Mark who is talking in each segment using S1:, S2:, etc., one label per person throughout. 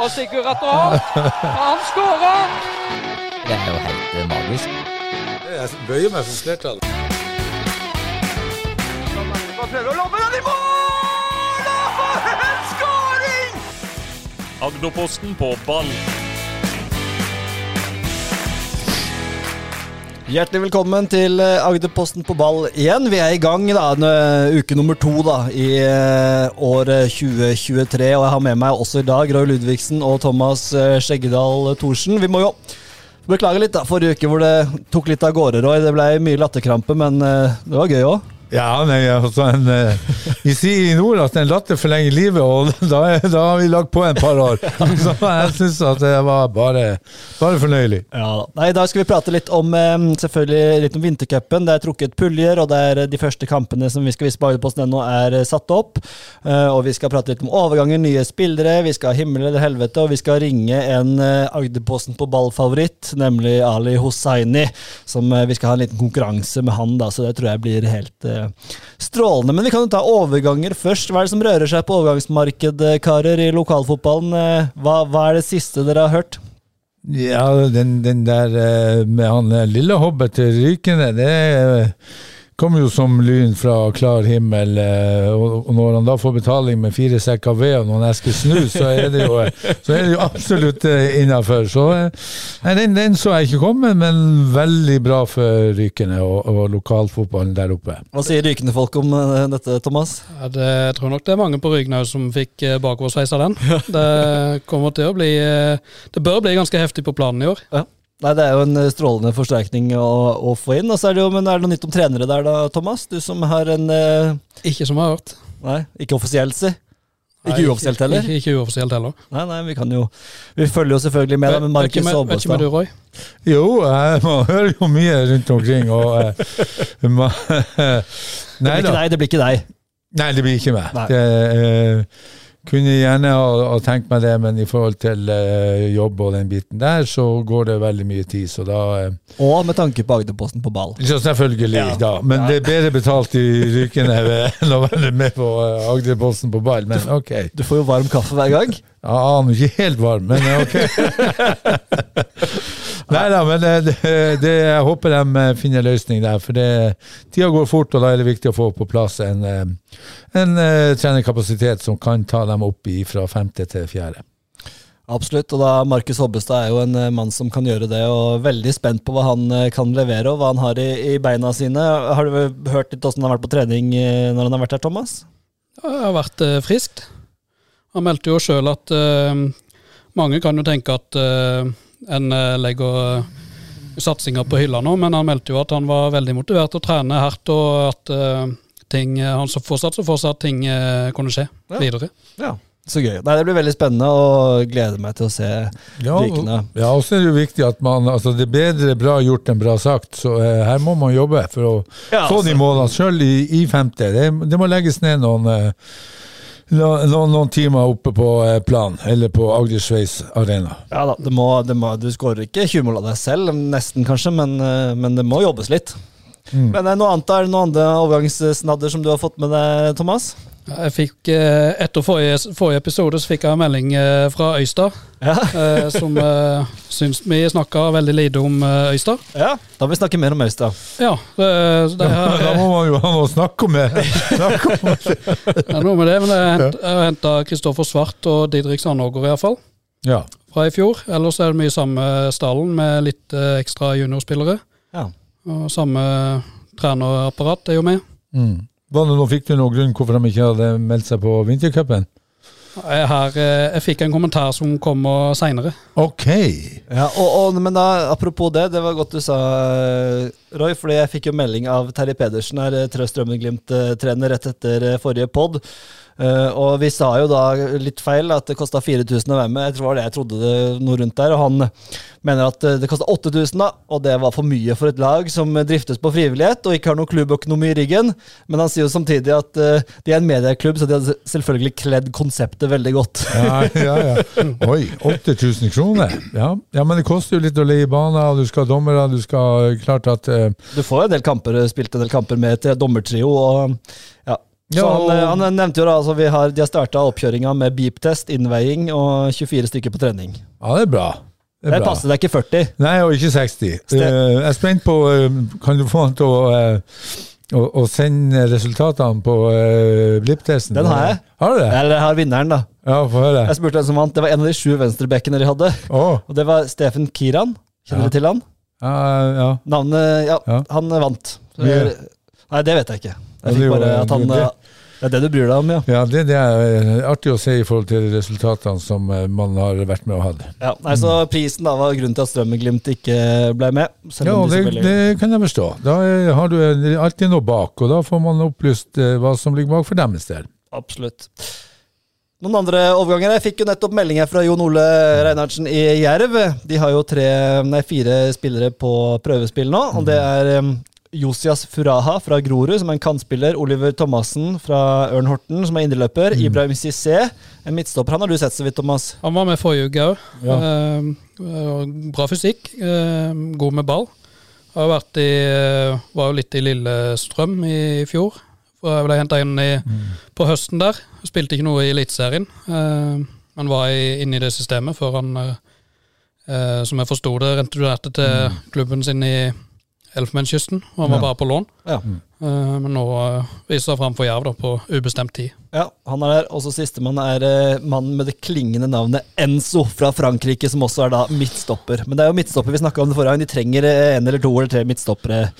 S1: Og Sigurd retter opp. Han skårer!
S2: Det er jo helt eh, magisk.
S3: Jeg bøyer meg for flertallet.
S1: Han prøver å lobbe den i mål! Og en skåring!
S4: Agderposten på ball.
S5: Hjertelig velkommen til eh, Agderposten på ball igjen. Vi er i gang da, en, eh, uke nummer to da, i eh, året 2023. Og jeg har med meg også i dag Roy Ludvigsen og Thomas eh, Skjeggedal Thorsen. Vi må jo beklage litt da, forrige uke hvor det tok litt av gårde, Roy. Det ble mye latterkrampe, men eh, det var gøy òg.
S3: Ja, nei, altså en, eh, Vi sier i nord at en latter forlenger livet, og da, er, da har vi lagt på en par år. Så jeg syns at det var bare, bare fornøyelig.
S5: Ja da. Nei, I dag skal vi prate litt om eh, selvfølgelig litt om vintercupen. Det er trukket puljer, og det er eh, de første kampene som vi skal vise på Agderposten ennå, er eh, satt opp. Eh, og vi skal prate litt om overganger, nye spillere, vi skal ha himmel eller helvete, og vi skal ringe en eh, Agderposten på ballfavoritt, nemlig Ali Hosseini. Som eh, vi skal ha en liten konkurranse med han, da, så det tror jeg blir helt eh, strålende. Men vi kan jo ta overganger først. Hva er det som rører seg på overgangsmarkedet, karer, i lokalfotballen? Eh, hva, hva er det siste dere har hørt?
S3: Ja, den, den der eh, med han eh, lille hobbet til Rykene, det eh, kom jo som lyn fra klar himmel. eh, Og og når han da får betaling med fire sekker ved og noen esker snus, så er det jo, eh, så er det jo absolutt innafor. Så eh, nei, den, den så jeg ikke komme, men veldig bra for Rykene og, og lokalfotballen der oppe.
S5: Hva sier rykende folk om eh, dette, Thomas?
S6: Ja, det, jeg tror nok det er mange på Rygnau som fikk eh, bakoversveis av den. Det kommer til å bli eh, Det bør bli ganske heftig på planen i år.
S5: Nei, Det er jo en eh, strålende forsterkning å, å få inn. Og så er det jo, men er det noe nytt om trenere der da, Thomas? Du som har en eh,
S6: Ikke som jeg har hørt.
S5: Nei, ikke offisielt, si.
S6: Nei,
S5: Ikke uoffisielt heller?
S6: Ikke, ikke uoffisielt heller.
S5: Nei, nei, vi kan jo Vi følger jo selvfølgelig med, da, men
S6: Vet
S5: Markus
S6: ikke med- vet ikke
S5: Aabestad
S6: med du, Roy.
S3: Jo, jeg, man hører jo mye rundt omkring, og eh, man,
S5: Det blir ikke deg, det blir ikke deg.
S3: Nei, det blir ikke meg.
S5: Nei.
S3: Det, eh, kunne gjerne ha, ha tenkt meg det, men i forhold til eh, jobb og den biten der, så går det veldig mye tid. Så da eh,
S5: Og med tanke på Agderposten på ball.
S3: så Selvfølgelig, da. Men det er bedre betalt i Rykene enn å være med på eh, Agderposten på ball. Men OK.
S5: Du får jo varm kaffe hver gang.
S3: Jeg aner ikke helt varm, men eh, OK. Nei da, men eh, det, det, jeg håper de eh, finner løsning der. For det, tida går fort, og da er det viktig å få på plass en, eh, en eh, trenerkapasitet som kan ta dem opp i, fra femte til fjerde.
S5: Absolutt. Og da Markus Hobbestad er jo en eh, mann som kan gjøre det, og veldig spent på hva han eh, kan levere, og hva han har i, i beina sine. Har du hørt litt åssen han har vært på trening eh, når han har vært her, Thomas?
S6: Ja, Jeg har vært eh, friskt. Han meldte jo sjøl at eh, mange kan jo tenke at eh, en eh, legger eh, satsinga på hylla nå, men han meldte jo at han var veldig motivert til å trene hardt, og at eh, ting, eh, han så fortsatt så fortsatt ting eh, kunne skje
S5: Ja.
S6: videre.
S5: Ja, så gøy. Nei, Det blir veldig spennende, og gleder meg til å se Rykene.
S3: ja, og så er det jo viktig at man altså Det er bedre bra gjort enn bra sagt, så eh, her må man jobbe for å
S5: Ja,
S3: få de målene sjøl i, i femte. Det, det må legges ned noen eh, no- noen, noen timer oppe på eh, plan, eller på Agdersveis arena.
S5: Ja da, det må, det må, Du skårer ikke 20 mål av deg selv, nesten kanskje, men, eh, men det må jobbes litt. Men eh, noe annet, er det noen andre overgangssnadder som du har fått med deg, Thomas?
S6: Jeg fikk, eh, etter forrige, forrige episode så fikk jeg en melding eh, fra Øystad,
S5: Ja.
S6: eh, som eh, syns vi snakka veldig lite om eh, Øystad.
S5: ja. Da må vi snakke mer om Øystad.
S6: Ja, eh, så det her,
S3: Da må man jo ha noe å snakke om. eh. Snakke om.
S6: Det er noe med det, men jeg hent- jeg har henta Kristoffer Svart og Didrik Sandåger i hvert fall,
S3: Ja.
S6: fra i fjor. Ellers er det mye samme stallen med litt eh, ekstra juniorspillere.
S5: Ja.
S6: Og samme trenerapparat er jo med.
S3: Mm. Var det noe, fikk du noen grunn hvorfor de ikke hadde meldt seg på vintercupen?
S6: Jeg, her, eh, jeg fikk en kommentar som eh, kommer seinere.
S3: OK!
S5: Ja, og, og, men da, Apropos det, det var godt du sa, eh, Roy. fordi jeg fikk jo melding av Terje Pedersen, her, eh, Trøst Strømmen-Glimt-trener, rett etter eh, forrige pod. Eh, og vi sa jo da litt feil at det kosta 4000 å være med. Jeg tror det var det jeg trodde det, noe rundt der. Og han mener at eh, det kosta 8000, da, og det var for mye for et lag som driftes på frivillighet og ikke har noe klubbøkonomi i ryggen. Men han sier jo samtidig at eh, de er en medieklubb, så de hadde selvfølgelig kledd konseptet veldig godt.
S3: Ja, ja, ja. Oi, 8000 kroner? Ja. ja, men det koster jo litt å leie baner, du skal ha dommere, du skal Klart at eh,
S5: Du får jo en del kamper, spilt en del kamper med til dommertrio, og ja, Så
S3: Ja,
S5: han, eh,
S3: og-
S5: han nevnte jo da, altså vi har, De har starta oppkjøringa med beep-test, innveiing og 24 stykker på trening.
S3: Ja, det er bra. Det
S5: Det
S3: er bra.
S5: passer deg ikke 40.
S3: Nei, og ikke 60. Eh, jeg er spent på eh, Kan du få han til å, eh, å, å sende resultatene på uh, blipptesten?
S5: Den har jeg.
S3: Har du det?
S5: Eller jeg har vinneren, da.
S3: Ja, få høre.
S5: Jeg spurte hvem som vant. Det var en av de sju venstrebekkene de hadde.
S3: Å,
S5: Og det var Stefan Kiran. Kjenner
S3: Ja.
S5: du til han?
S3: ja, ja.
S5: Navnet Ja,
S3: Ja.
S5: han vant. Så
S3: Mye.
S5: jeg- Nei, det vet jeg ikke.
S3: Ja,
S5: Jeg fikk
S3: det
S5: bare
S3: gjorde
S5: at han
S3: du.
S5: eh, Det er det du bryr deg om, ja.
S3: ja det, det er eh, artig å se i forhold til resultatene som eh, man har vært med og hatt.
S5: ja. Nei, så prisen da var grunnen til at Strømmeglimt ikke ble med. Selv
S3: Ja,
S5: om
S3: og
S5: de
S3: det,
S5: selvfølgelig
S3: det kan jeg forstå. Da eh, har du eh, alltid noe bak, og da får man opplyst eh, hva som ligger bak for deres del.
S5: Absolutt. Noen andre overganger? Jeg fikk jo nettopp melding her fra Jon Ole Reinhardsen i Jerv. De har jo tre, nei, fire spillere på prøvespill nå, og det er um, Josias Furaha fra Grorud, som er en kantspiller. Oliver Thomassen fra Ørn Horten, som er indreløper. Ibrahim Cissé, en midtstopper. Han har du sett så vidt, Thomas.
S6: Han var med forrige uke òg.
S3: Ja.
S6: bra fysikk, eh, god med ball. Har jo vært i, eh, var jo litt i Lillestrøm i fjor. For jeg ble henta inn i,
S3: Mm.
S6: på høsten der. Spilte ikke noe i Eliteserien. Eh, men var i, inne i det systemet før han, eh, eh, som jeg forsto det, returnerte til klubben sin i Elfenbenskysten. Og han var
S3: Mm. Ja.
S6: bare på lån.
S5: Ja.
S6: Eh, men nå eh, viser han fram for Jerv da, på ubestemt tid.
S5: Ja, han er der. Og så sistemann er eh, mannen med det klingende navnet Enzo fra Frankrike, som også er da midtstopper. Men det er jo midtstopper vi snakka om det forrige gang. De trenger eh, en eller to eller tre midtstoppere.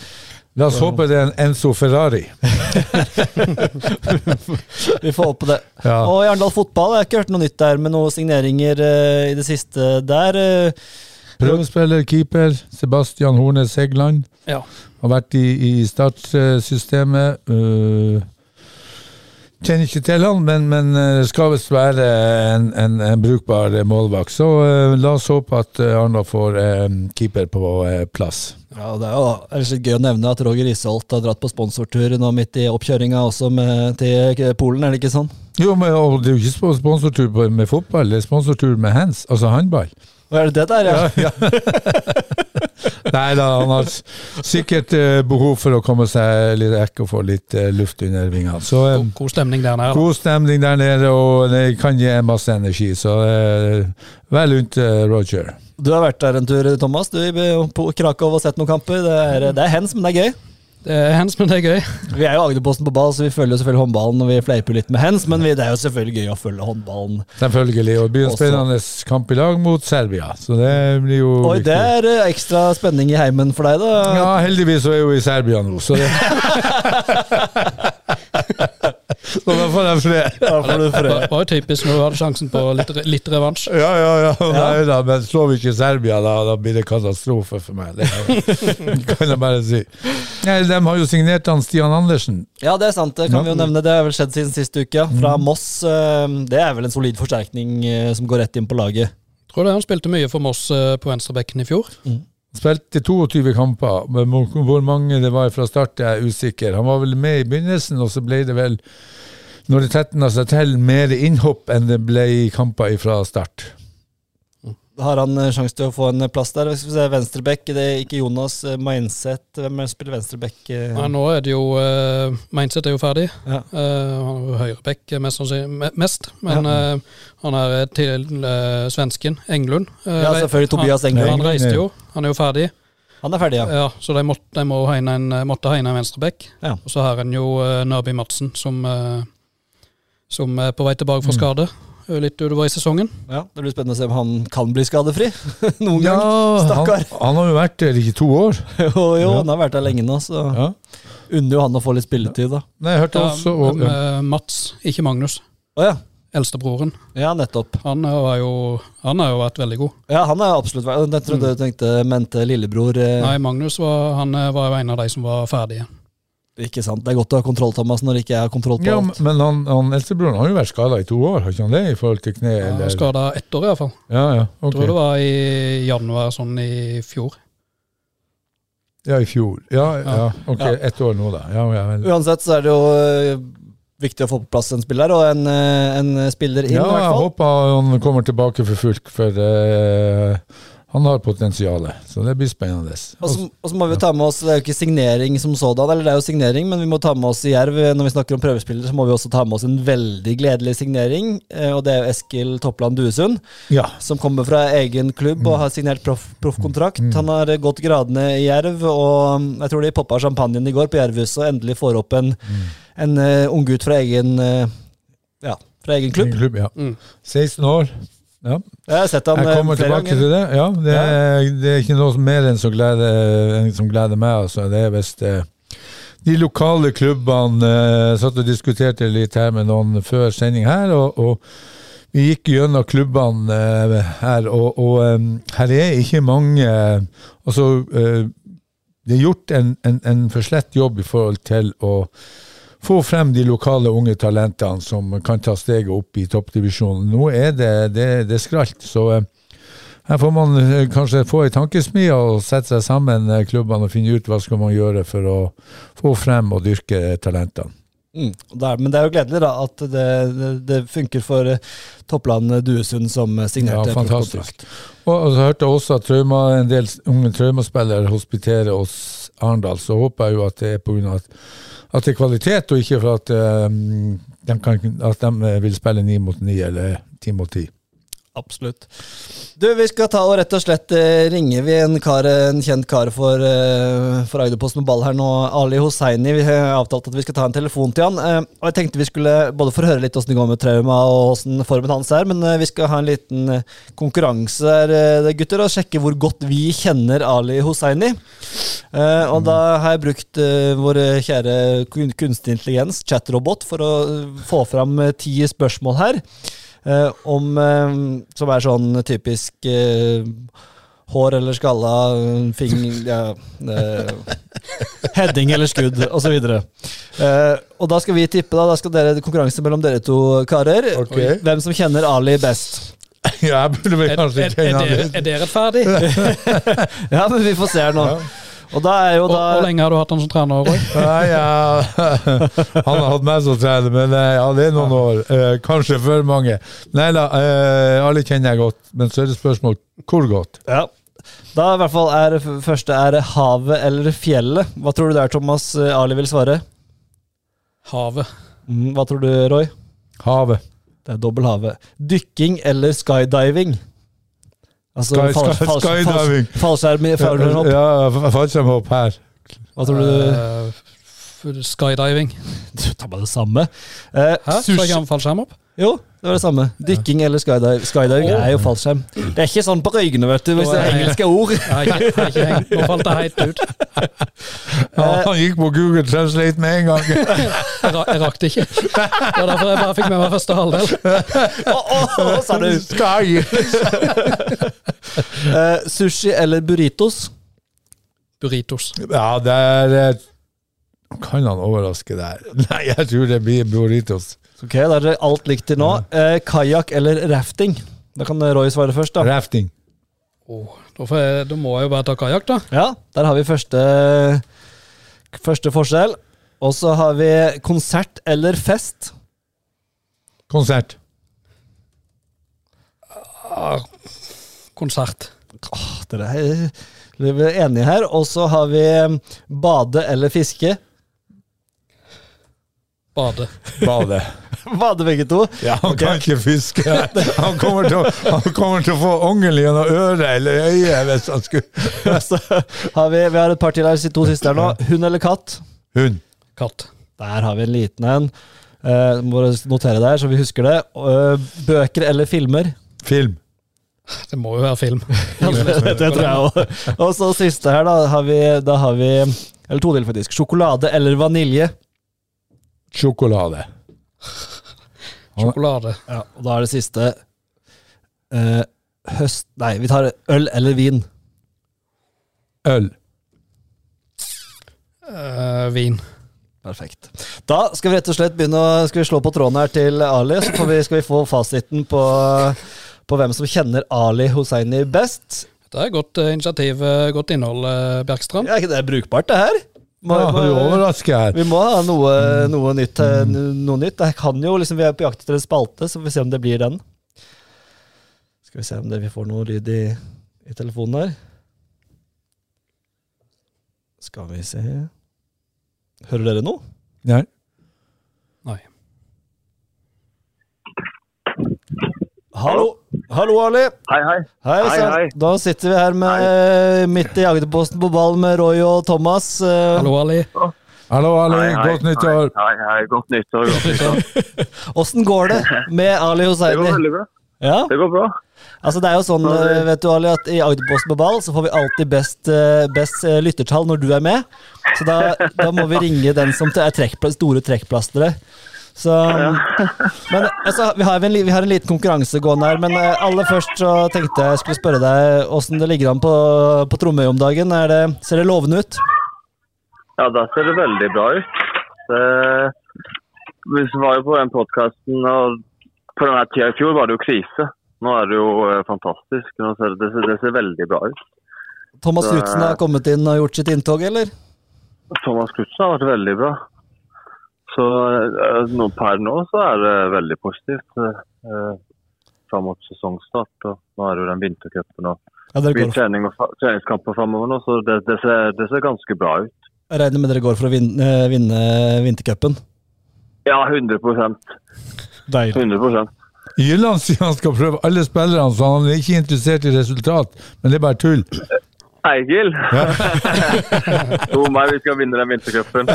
S3: La oss håpe det er en Enzo Ferrari.
S5: Vi får håpe det.
S3: Ja.
S5: Og Arendal fotball, jeg har ikke hørt noe nytt der med noen signeringer eh, i det siste der. eh.
S3: Prøvespiller, keeper, Sebastian Hornes Hegland.
S6: Ja.
S3: Har vært i, i startsystemet. øh, kjenner ikke til han, men, men øh, skal visst være en, en, en brukbar målvakt. Så øh, la oss håpe at øh, Arendal får øh, keeper på øh, plass.
S5: Ja, det er jo ellers litt gøy å nevne at Roger Isholt har dratt på sponsortur nå midt i oppkjøringa også med, til Polen, er det ikke sånn?
S3: Jo, men og det er jo ikke sp- sponsortur på- med fotball, det er sponsortur med hands, altså håndball.
S5: Og er det det der, ja?
S3: Nei da, han har s- sikkert øh, behov for å komme seg litt vekk og få litt øh, luft under vingene. Så øh,
S6: God, god stemning der nede. da.
S3: God stemning der nede, og det kan gi en masse energi. Så eh, vel unt, eh, Roger.
S5: Du har vært der en tur, Thomas, du i- eh, på Krakow og sett noen kamper. Det er, eh, det er hens, men det er gøy.
S6: Det er hens, men det er gøy.
S5: Vi er jo Agderposten på ball, så vi følger jo selvfølgelig håndballen og vi fleiper litt med hens, men vi, det er jo selvfølgelig gøy å følge håndballen.
S3: Selvfølgelig. Og det blir en
S5: Også-
S3: spennende kamp i lag mot Serbia, så det blir jo
S5: Oi,
S3: viktig.
S5: det er eh, ekstra spenning i heimen for deg, da.
S3: Ja, heldigvis så er hun i Serbia nå, så det Så da får jeg fred.
S5: Da får du fred.
S6: Det var jo typisk når du hadde sjansen på litt, litt revansj.
S3: Ja, ja, ja. Nei da, men slår vi ikke Serbia, da, da blir det katastrofe for meg. Det kan jeg bare si. Nei, de har jo signert han Stian Andersen.
S5: Ja, det er sant. Det kan vi jo nevne. Det har vel skjedd siden sist uke. ja. Fra Moss. eh, Det er vel en solid forsterkning eh, som går rett inn på laget.
S6: Tror det han spilte mye for Moss eh, på venstrebekken i fjor.
S3: Spilte 22 kamper, men hvor hvor mange det var fra start er jeg usikker. Han var vel med i begynnelsen, og så ble det vel, når det tetna seg til, mer innhopp enn det ble i kamper fra start.
S5: Har han eh, sjanse til å få en plass der? Skal vi se, Venstrebekk, det er ikke Jonas eh, Mindset. Hvem er det som spiller venstrebekk? eh?
S6: Nei, nå er det jo uh, Mindset er jo ferdig.
S5: Ja.
S6: Eh, han er jo høyrebekk mest, sannsynlig- me- mest, men eh, han er til eh, svensken Englund. Eh,
S5: Ja, selvfølgelig Tobias
S6: han,
S5: Englund.
S6: Han reiste jo, han er jo ferdig.
S5: Han er ferdig, ja.
S6: Ja, så de måtte, de må hegne en, eh, måtte hegne en venstrebekk.
S5: Ja.
S6: Og så har en jo eh, Nabi Madsen, som, eh, som er på vei tilbake
S5: Mm.
S6: fra skade. eh, Litt utover i sesongen.
S5: ja. Det blir spennende å se om han kan bli skadefri noen
S3: Ja,
S5: gang.
S3: han,
S5: Stakkar.
S3: han har jo vært der i to år.
S5: Jo, jo, han har vært der lenge nå, så
S3: Ja.
S5: unner jo han å få litt spilletid, da.
S3: Nei, jeg hørte også og,
S6: Ja, eh, Mats, ikke Magnus.
S5: Å ja.
S6: Eldstebroren.
S5: Ja, nettopp.
S6: Han har jo, han har jo vært veldig god.
S5: Ja, han er absolutt verdt Jeg trodde du tenkte mente lillebror. eh,
S6: Nei, Magnus var, han eh, var jo en av de som var ferdige.
S5: Ikke sant. Det er godt å ha kontroll, Thomas, når ikke jeg har kontroll på
S3: ja,
S5: alt.
S3: men han, han eldstebroren har jo vært skada i to år, har ikke han det? I forhold til kne?
S6: Ja,
S3: Eller?
S6: Skada ett år, iallfall.
S3: Ja, ja,
S6: Jeg Tror det
S3: ok.
S6: var i januar sånn i fjor.
S3: Ja, i fjor. Ja, ja, ok.
S5: Ja.
S3: Ett år nå, da. Ja, ja, vel.
S5: Uansett så er det jo øh, viktig å få på plass en spiller, og en, øh, en spiller inn,
S3: Ja,
S5: i hvert
S3: jeg
S5: fall.
S3: håper han kommer tilbake for fullt, for eh, han har potensialet, så det blir spennende.
S5: Og så og så må vi jo ta med oss, Det er jo ikke signering som sådan, eller det er jo signering, men vi må ta med oss i Jerv når vi snakker om prøvespillere, så må vi også ta med oss en veldig gledelig signering. eh, Og det er jo Eskil Toppland Duesund,
S3: Ja.
S5: som kommer fra egen klubb og har signert proff- proffkontrakt.
S3: Mm.
S5: Han har eh, gått gradene i Jerv, og mm, jeg tror de poppa champagnen i går på Jervhuset og endelig får opp en,
S3: Mm.
S5: en eh, unggutt fra egen eh, ja, fra egen klubb. Mm.
S3: Klubb, ja. 16 år. Ja.
S5: Jeg har sett ham
S3: Jeg
S5: eh,
S3: kommer
S5: flere
S3: tilbake
S5: ganger.
S3: til det. Ja, det, er, det er ikke noe mer enn som gleder, enn som gleder meg. Altså. Det er hvis eh, de lokale klubbene eh, satt og diskuterte litt her med noen før sending her, og, og vi gikk gjennom klubbene eh, her, og, og eh, her er ikke mange eh, Altså, eh, det er gjort en, en, en for slett jobb i forhold til å få frem de lokale unge talentene som kan ta steget opp i toppdivisjonen. Nå er det, det, det er skralt, så eh, her får man eh, kanskje få ei tankesmi og sette seg sammen eh, klubbene og finne ut hva skal man gjøre for å få frem og dyrke talentene.
S5: Mm. og det er- Men det er jo gledelig da, at det, det, det funker for eh, Toppland Duesund som eh,
S3: Ja,
S5: signerte
S3: fantastisk. Og, og så hørte jeg også at trauma, en del s- unge traumaspillere hospiterer hos Arendal, så håper jeg jo at det er pga. At, at det er kvalitet, og ikke for at, eh, de kan, at de eh, vil spille ni mot ni eller ti mot ti.
S5: Absolutt. Du, vi skal ta og rett og slett eh, ringe vi en, kar, en kjent kar for, eh, for Agderposten med ball her nå, Ali Hosseini. Vi har avtalt at vi skal ta en telefon til han. eh, og jeg tenkte vi skulle både få høre litt åssen det går med trauma og åssen formen hans er, men eh, vi skal ha en liten eh, konkurranse der, eh, gutter, og sjekke hvor godt vi kjenner Ali Hosseini. Eh,
S3: Mm.
S5: og da har jeg brukt eh, vår kjære kun kunstig intelligens, chatrobot, for å eh, få fram eh, ti spørsmål her. eh, om, eh, som er sånn typisk eh, hår eller skalla, fing, ja, eh, heading eller skudd, osv. Uh, og da skal vi tippe, da. Da skal dere konkurranse mellom dere to karer.
S3: Ok.
S5: Hvem som kjenner Ali best.
S3: Ja, jeg burde vel
S6: Er,
S3: kanskje
S6: er, er,
S3: kjenne
S6: det,
S3: han litt.
S6: er det rettferdig?
S5: Ja, men vi får se her nå.
S3: Ja.
S5: Og da er jo
S6: Hvor
S5: da
S6: hvor lenge har du hatt han som trener? Roy?
S3: Nei, ja. Han har hatt meg som trener, men eh, ja, det er noen år. Eh, kanskje for mange. Nei da, eh, alle kjenner jeg godt, men så er det spørsmål hvor godt.
S5: Ja. Da i hvert fall er f- første er havet eller fjellet. Hva tror du det er, Thomas eh, Ali vil svare?
S6: Havet.
S5: Mm, Hva tror du, Roy?
S3: Havet.
S5: Det er dobbel havet. Dykking eller skydiving? Altså,
S3: Sky-
S5: fall-
S3: sky-
S5: fall- fall-
S3: skydiving.
S5: Fallskjerm i fallskjerm opp.
S3: Ja, f- fallskjermhopp her.
S5: Hva tror du?
S6: Eh, f- skydiving.
S5: Du tar bare det samme. Eh,
S6: Hæ? Så
S5: sushi-
S6: jeg har en fallskjerm opp?
S5: Jo, det var det samme. Dykking eller skydive. skydiving er jo fallskjerm. Det er ikke sånn på røygene, vet du, hvis det er
S6: Nei.
S5: engelske ord.
S6: Nei, ikke, nei, ikke hengt. Nå falt jeg helt ut.
S3: Ja, han gikk på Google Translate med en gang.
S6: Jeg, ra jeg rakk det ikke. Det var derfor jeg bare fikk med meg første halvdel.
S5: Å, å, å, sa du.
S3: Sky!
S5: Eh, sushi eller burritos?
S6: Burritos.
S3: Ja, der eh, Kan han overraske der? Nei, jeg tror det blir burritos.
S5: Ok, da er det alt likt til nå. Eh, Kajakk eller rafting? Da kan eh, Roy svare først, da.
S3: Rafting.
S6: Åh, da, får jeg, da må jeg jo bare ta kajakk, da.
S5: Ja, Der har vi første, første forskjell. Og så har vi konsert eller fest.
S3: Konsert.
S6: Konsert.
S5: Åh, Ah, dere er dere er enige her. Og så har vi eh, bade eller fiske.
S6: Bade.
S3: Bade.
S5: Bade begge to.
S3: Ja, han
S5: Ok.
S3: kan ikke fiske. Han kommer til å, han kommer til å få ongel gjennom øret eller øyet hvis han skulle
S5: Og så har vi, vi har et par til her, de to siste her nå. Hund eller katt?
S3: Hund.
S6: Katt.
S5: Der har vi en liten en. Eh, må notere der, så vi husker det. Eh, bøker eller filmer?
S3: Film.
S6: Det må jo være film.
S5: det tror jeg også. Og så siste her, da har vi, da har vi Eller todel, faktisk. Sjokolade eller vanilje.
S3: Sjokolade.
S6: Sjokolade.
S5: Ja, og da er det siste eh, Høst Nei, vi tar øl eller vin.
S3: Øl.
S6: Eh, vin.
S5: Perfekt. Da skal vi rett og slett begynne å skal vi slå på tråden her til Ali, så får vi, skal vi få fasiten på, på hvem som kjenner Ali Hosseini best.
S6: Det er godt eh, initiativ, eh, godt innhold, eh, Bjerkstrand.
S5: Ja, ikke det er brukbart, det her? Må-
S3: Ja, Ah, du
S5: må-
S3: overrasker her.
S5: Vi må ha noe, noe, nytt, eh, noe nytt. Det kan jo, liksom, vi er på jakt etter en spalte, så får vi se om det blir den. Skal vi se om det, vi får noe lyd i i telefonen her. Skal vi se Hører dere noe?
S3: Nei.
S6: Nei.
S5: Hallo, Hallo Ali!
S7: Hei, hei.
S5: Hei,
S7: Hei,
S5: sann.
S7: hei.
S5: Da sitter vi her med, midt i Agderposten på ball med Roy og Thomas. Eh,
S6: Hallo, Ali.
S3: Hallo, Ali.
S7: Hei, hei.
S3: Godt nyttår.
S7: Hei, hei, hei. Godt nyttår. Godt nyttår.
S5: Åssen går det med Ali
S7: Det går
S5: Hosseini?
S7: veldig bra.
S5: Ja,
S7: Det går bra.
S5: altså det er jo sånn, eh, vet du Ali, at i Agderposten på ball så får vi alltid best, eh, best eh, lyttertall når du er med. Så da, da må vi ringe den som er trekkpla- store trekkplasteret. Så, men altså, vi, har en, li- vi har en liten konkurranse gående her, men eh, aller først så tenkte jeg jeg skulle spørre deg åssen det ligger an på, på Tromøy om dagen. Er det, ser det lovende ut?
S7: Ja, da ser det veldig bra ut. Det- Vi var jo på den podkasten, og på denne tida i fjor var det jo krise. Nå er det jo eh, fantastisk. Nå ser det, det, ser veldig bra ut.
S5: Thomas
S7: Så-
S5: Knutsen har kommet inn og gjort sitt inntog, eller?
S7: Thomas Knutsen har vært veldig bra. Så eh, nå, per nå så er det veldig positivt eh, fram mot sesongstart. Og nå er det jo den vintercupen og
S5: Ja, dere
S7: Det blir
S5: går,
S7: trening og fa- treningskamper framover nå, så det, det, ser, det ser ganske bra ut.
S5: jeg regner med dere går for å vinne, eh, vinne vintercupen.
S7: Ja, 100 100
S5: Deilig.
S3: Jylland sier han skal prøve alle spillerne, så han er ikke interessert i resultat. Men det er bare tull.
S7: Eigil! Tro meg, vi skal vinne den vintercupen.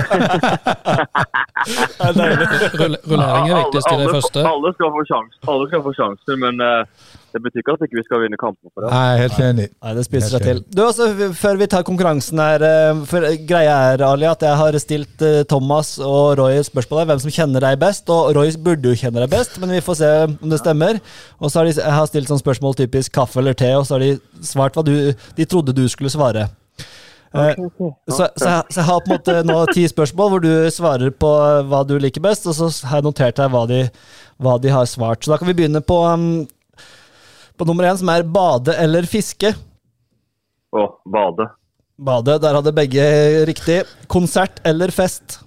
S6: Rull- Rullering er viktigst i det
S7: alle,
S6: første.
S7: alle, skal få sjans, alle skal få sjanser, men eh, det betyr ikke at ikke vi ikke skal vinne kampen for det.
S3: Jeg er helt enig.
S5: Nei, det spiser
S3: Jeg
S5: seg til. Du, altså, f- Før vi tar konkurransen her eh, for eh, Greia er, Ali, at jeg har stilt eh, Thomas og Roy et spørsmål om hvem som kjenner deg best. Og Roy burde jo kjenne deg best, men vi får se om det stemmer. Og så har de, Jeg har stilt sånn spørsmål typisk kaffe eller te, og så har de svart hva du, de trodde du skulle svare. Eh, Så, så, jeg, så jeg har på en måte nå ti spørsmål hvor du svarer på eh, hva du liker best, og så har jeg notert her hva de, hva de har svart. Så da kan vi begynne på, um, på nummer én, som er bade eller fiske.
S7: Å, bade.
S5: Bade, der hadde begge riktig. Konsert eller fest?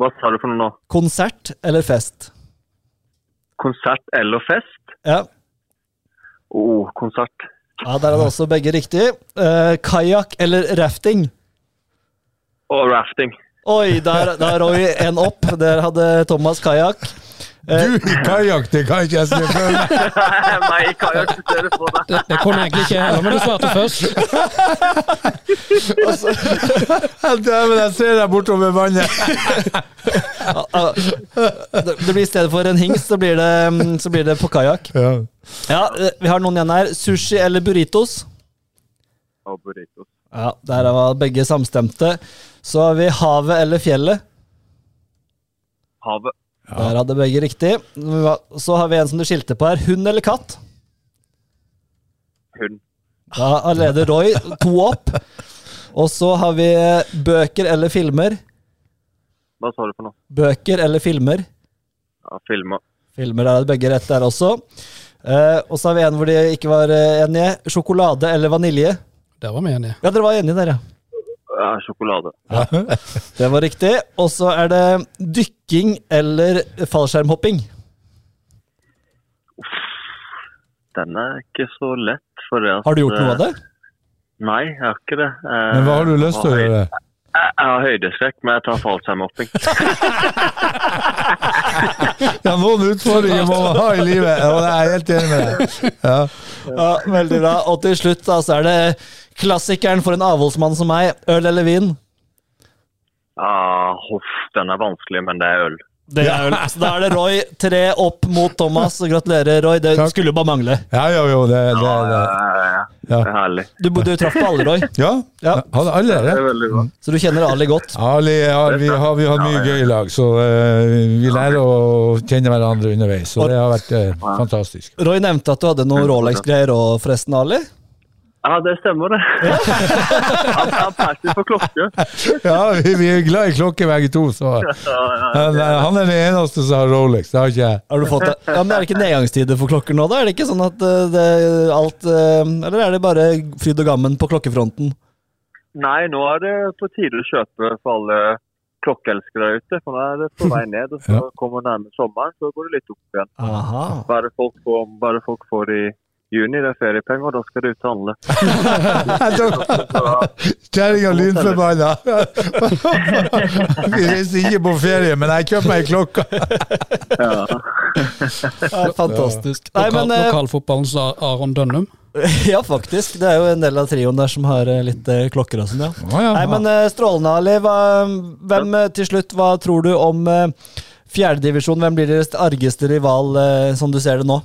S7: Hva sa du for noe nå?
S5: Konsert eller fest?
S7: Konsert eller fest?
S5: Ja,
S7: Å, konsert.
S5: ja der hadde også begge riktig. Uh, Kajakk eller rafting?
S7: Og rafting.
S5: Oi, der, der rår vi en opp. Der hadde Thomas kajakk.
S3: Du i kajakk, det kan ikke jeg se for meg.
S7: Nei, jeg kan jo akseptere på det.
S6: Det, det kunne egentlig ikke jeg heller, men du svarte først.
S3: Dæven, jeg ser deg bortover vannet.
S5: Ah, Det det blir i stedet for en hings, så blir det, mm, så blir det på kajakk.
S3: Ja.
S5: Ja, eh, vi har noen igjen her. Sushi eller burritos?
S7: Og burritos.
S5: Ja, Der var begge samstemte. Så har vi havet eller fjellet.
S7: Havet.
S5: Der hadde begge riktig. Så har vi en som du skilte på her. Hund eller katt?
S7: Hund.
S5: Da leder Roy to opp. Og så har vi eh, bøker eller filmer.
S7: Hva sa du for noe?
S5: Bøker eller filmer.
S7: Ja, Filma.
S5: Filmer der er det begge rett der også. Eh, og så har vi en hvor de ikke var eh, enige. Sjokolade eller vanilje?
S6: Der var vi enige.
S5: Ja, dere var enige der, ja.
S7: Ja, sjokolade.
S5: Det var riktig. Og så er det dykking eller fallskjermhopping.
S7: Den er ikke så lett. For det at, eh,
S5: Har du gjort noe av det?
S7: Nei, jeg har ikke det. Eh,
S3: Men hva har du lyst til å gjøre?
S7: Jeg jeg har høydeskrekk, men jeg tar fallskjermhopping.
S3: Ja, noen utfordringer må man ha i livet. Ja, jeg er helt enig med deg. Ja.
S5: Ja, Veldig bra. Og til slutt da, så er det klassikeren for en avholdsmann som meg. Øl eller vin?
S7: Ah, hoff, den er vanskelig, men det er øl.
S5: Det er øl. Så da er det Roy tre opp mot Thomas. Og gratulerer, Roy. Det
S3: Takk.
S5: skulle jo bare mangle.
S3: Ja, jo, jo, det, det, det.
S7: Eh,
S3: Ja.
S7: Det er herlig.
S5: Du, bodde- du traff på alle, Roy,
S3: Ja,
S5: Ja.
S3: hadde alle
S7: Det
S3: det?
S7: er veldig bra.
S5: så du kjenner Ali godt.
S3: Ali har vi, har vi hatt mye gøy i lag, så eh, vi lærer å kjenne hverandre underveis. Og det har vært eh, fantastisk.
S5: Roy nevnte at du hadde noen Rolex-greier òg, forresten, Ali.
S7: Ja, det stemmer, det. Han er perfekt på klokke.
S3: Ja, vi, vi er glad i klokke begge to, så Men, eh, han er den eneste som har Rolex, det har ikke jeg.
S5: Har du fått det? Ja, men Er det ikke nedgangstider for klokker nå, da? Er det ikke sånn at eh, det, alt eh, Eller er det bare fryd og gammen på klokkefronten?
S7: Nei, nå er det på tide å kjøpe for alle klokkeelskere der ute. For nå er det på vei ned, og så
S3: Ja.
S7: kommer nærmere sommeren, så går det litt opp igjen.
S5: Aha.
S7: Hva er det folk får, hva er det folk får i juni det er feriepenger, og da skal du ut og handle.
S3: Kjerringa lynforbanna! Vi reiser ikke på ferie, men jeg kjøper meg ei klokke!
S5: Ja, fantastisk. Nei,
S6: Lokal,
S5: men, eh,
S6: lokalfotballens Ar- Aron Dønnum.
S5: ja, faktisk. Det er jo en del av trioen der som har eh, litt eh, klokker og sånn, ja.
S3: Å, ja.
S5: Nei, men eh, strålende, Ali. Hva, hvem, eh, til slutt, hva tror du om eh, fjerdedivisjon? Hvem blir deres argeste rival, eh, som du ser det nå?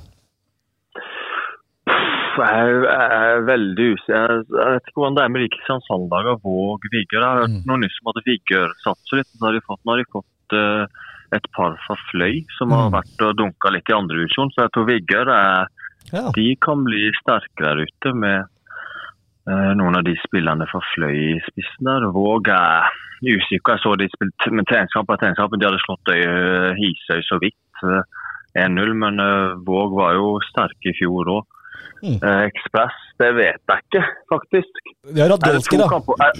S7: Pff, Jeg er- jeg er veldig usikker. Jeg jeg vet ikke hvordan det er med Kristiansand-laget og Våg Vigør. Jeg har hørt noe nyss om at Vigør satser litt. og Så har de fått, nå har de fått eh, et par fra Fløy som har vært og dunka litt i andre divisjon. Så jeg tror Vigør er,
S5: Ja.
S7: de kan bli sterkere der ute med eh, noen av de spillerne fra Fløy i spissen der. Våg er usikker. Jeg så de spilte med treningskamp etter treningskamp, men de hadde slått Øy- Hisøy så vidt. eh, 1-0, men eh, Våg var jo sterke i fjor òg. Eh, Ekspress, det vet jeg ikke, faktisk.
S5: De har
S7: Er det, to
S5: Radolski, da.
S7: kamper, er,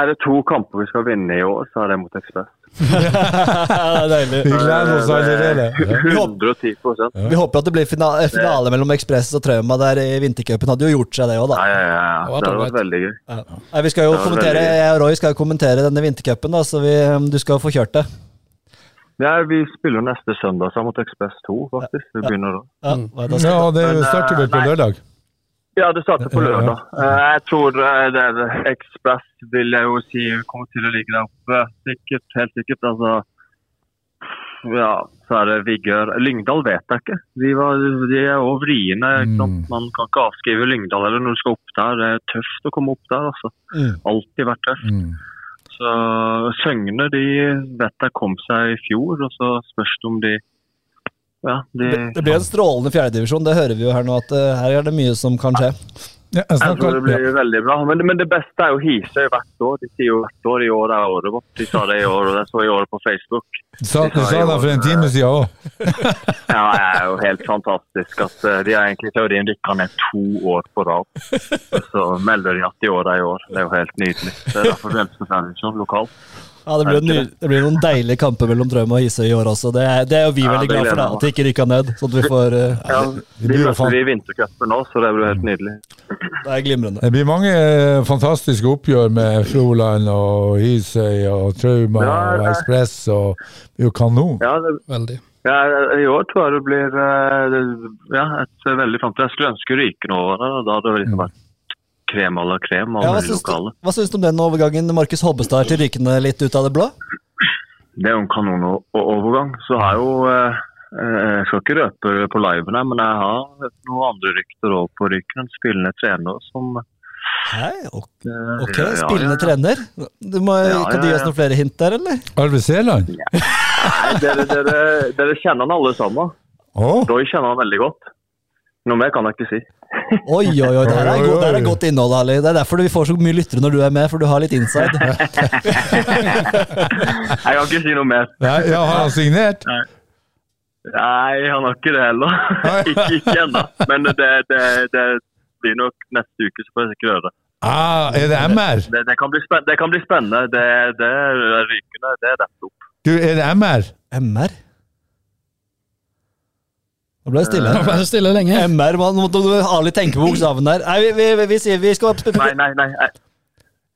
S7: er det to kamper vi skal vinne i år, så er det mot Ekspress. Eh,
S5: det er deilig.
S3: Vi gleder oss allerede. Ja.
S7: 110 ja,
S5: Vi håper at det blir fina eh, finale mellom Ekspress og Trauma der i vintercupen. Hadde jo gjort seg det òg, da.
S7: ja, ja, ja.
S6: var
S7: Det hadde
S6: dårlig.
S7: vært veldig gøy.
S5: Nei, vi skal jo
S7: Det var
S5: kommentere,
S7: veldig-
S5: jeg og Roy skal jo kommentere denne vintercupen, da, så vi, eh, du skal få kjørt det.
S7: Ja, vi spiller neste søndag så mot Ekspress 2, faktisk. Vi begynner da.
S5: Ja, hva er det?
S3: Ja, det starter
S7: eh,
S3: vel på lørdag? Mm.
S7: Ja, det starter på lørdag. Eh, Jeg tror eh, det er Ekspress vil jeg jo si kommer til å ligge der oppe. Sikkert, helt sikkert. Altså, ja, så er det Vigør. Lyngdal vet jeg ikke. De, var, de er jo vriene. ikke sant?
S3: Mm.
S7: Man kan ikke avskrive Lyngdal eller når du skal opp der. Det er tøft å komme opp der. altså.
S5: Mm.
S7: Alltid vært tøft.
S3: Mm.
S7: Så Søgne de vet jeg kom seg i fjor, og så spørs det om de ja, de,
S5: Det, det blir en strålende fjerdedivisjon, det hører vi jo her nå. at eh, Her er det mye som kan skje.
S3: Ja, jeg
S7: Jeg
S3: snakker,
S7: tror det blir veldig bra. Men, men det beste er jo Hisøy hvert år. De sier jo hvert år i år er året vårt. De sa det i år, og det så i året på Facebook.
S3: sa, du sa det for en time siden òg.
S7: Ja, det er jo helt fantastisk at eh, de har egentlig teorien rykka ned to år på rad. Og så melder de at i år er i år. Det er jo helt nydelig. Det er derfor vi ønsker Sandviksjon lokalt.
S5: Ja, det blir, jo ny, det blir noen deilige kamper mellom Drøm og Hisøy i år også. Det er, det er jo vi
S7: Ja,
S5: veldig
S7: det
S5: glad for,
S7: gleder
S5: da,
S7: jeg meg.
S5: at det ikke rykka ned. Så at vi får eh,
S7: Ja,
S3: det
S7: de
S3: blir jo
S7: møter
S3: fan-
S7: vi i vintercupen nå, så det blir jo helt nydelig.
S5: Det er glimrende.
S3: Det blir mange eh, fantastiske oppgjør med Froland og Hisøy og Trauma
S7: Ja,
S3: og
S7: det-
S3: Ekspress. og Det er jo kanon.
S7: Ja, det,
S6: Veldig.
S7: ja, I år tror jeg det blir eh, det- ja, et veldig framtid. Jeg skulle ønske Ryken over det. Da hadde det liksom
S3: Mm.
S7: vært krem à la krem.
S5: Ja,
S7: Og
S5: hva,
S7: mulig
S5: syns du,
S7: lokale.
S5: hva syns du om den overgangen Markus Hobbestad er til Rykene litt ut av det blå?
S7: Det er jo en kanonovergang. Så har jeg jo eh, eh, Jeg skal ikke røpe på liven her, men jeg har hørt noen andre rykter òg på Ryken. En spillende trener som
S5: Hei, ok,
S7: eh,
S5: ok,
S7: ja, ja,
S5: spillende
S7: ja.
S5: trener. Du må,
S7: Ja,
S5: kan du
S7: ja,
S5: gi oss
S7: ja.
S5: noen flere hint der, eller?
S3: Arve Seland?
S7: Nei, Dere, dere, dere kjenner han alle sammen.
S3: Å,
S7: Roy kjenner han veldig godt. Noe mer kan jeg ikke si.
S5: Oi, oi, oi. Det her er,
S3: Oi, oi,
S5: godt, det her
S3: oi.
S5: er godt innhold, Ali. Det er derfor vi får så mye lyttere når du er med, for du har litt inside.
S7: Jeg kan ikke si noe mer.
S3: Nei, ja, har han signert?
S7: Nei, han har ikke det heller. ikke ikke ennå. Men det, det, det blir nok neste uke, så får jeg sikkert høre det.
S3: Ah, er det MR?
S7: Det, det, kan, bli spen det kan bli spennende. Det, det er rykende. Det er rett opp.
S3: Du, er det MR?
S5: MR? Nå ble det stille.
S6: Da ble det stille lenge.
S5: MR, man måtte du Ali tenke på bokstaven der. Nei, vi, vi, vi, vi sier vi skal opp-
S7: Nei, nei, nei. Jeg,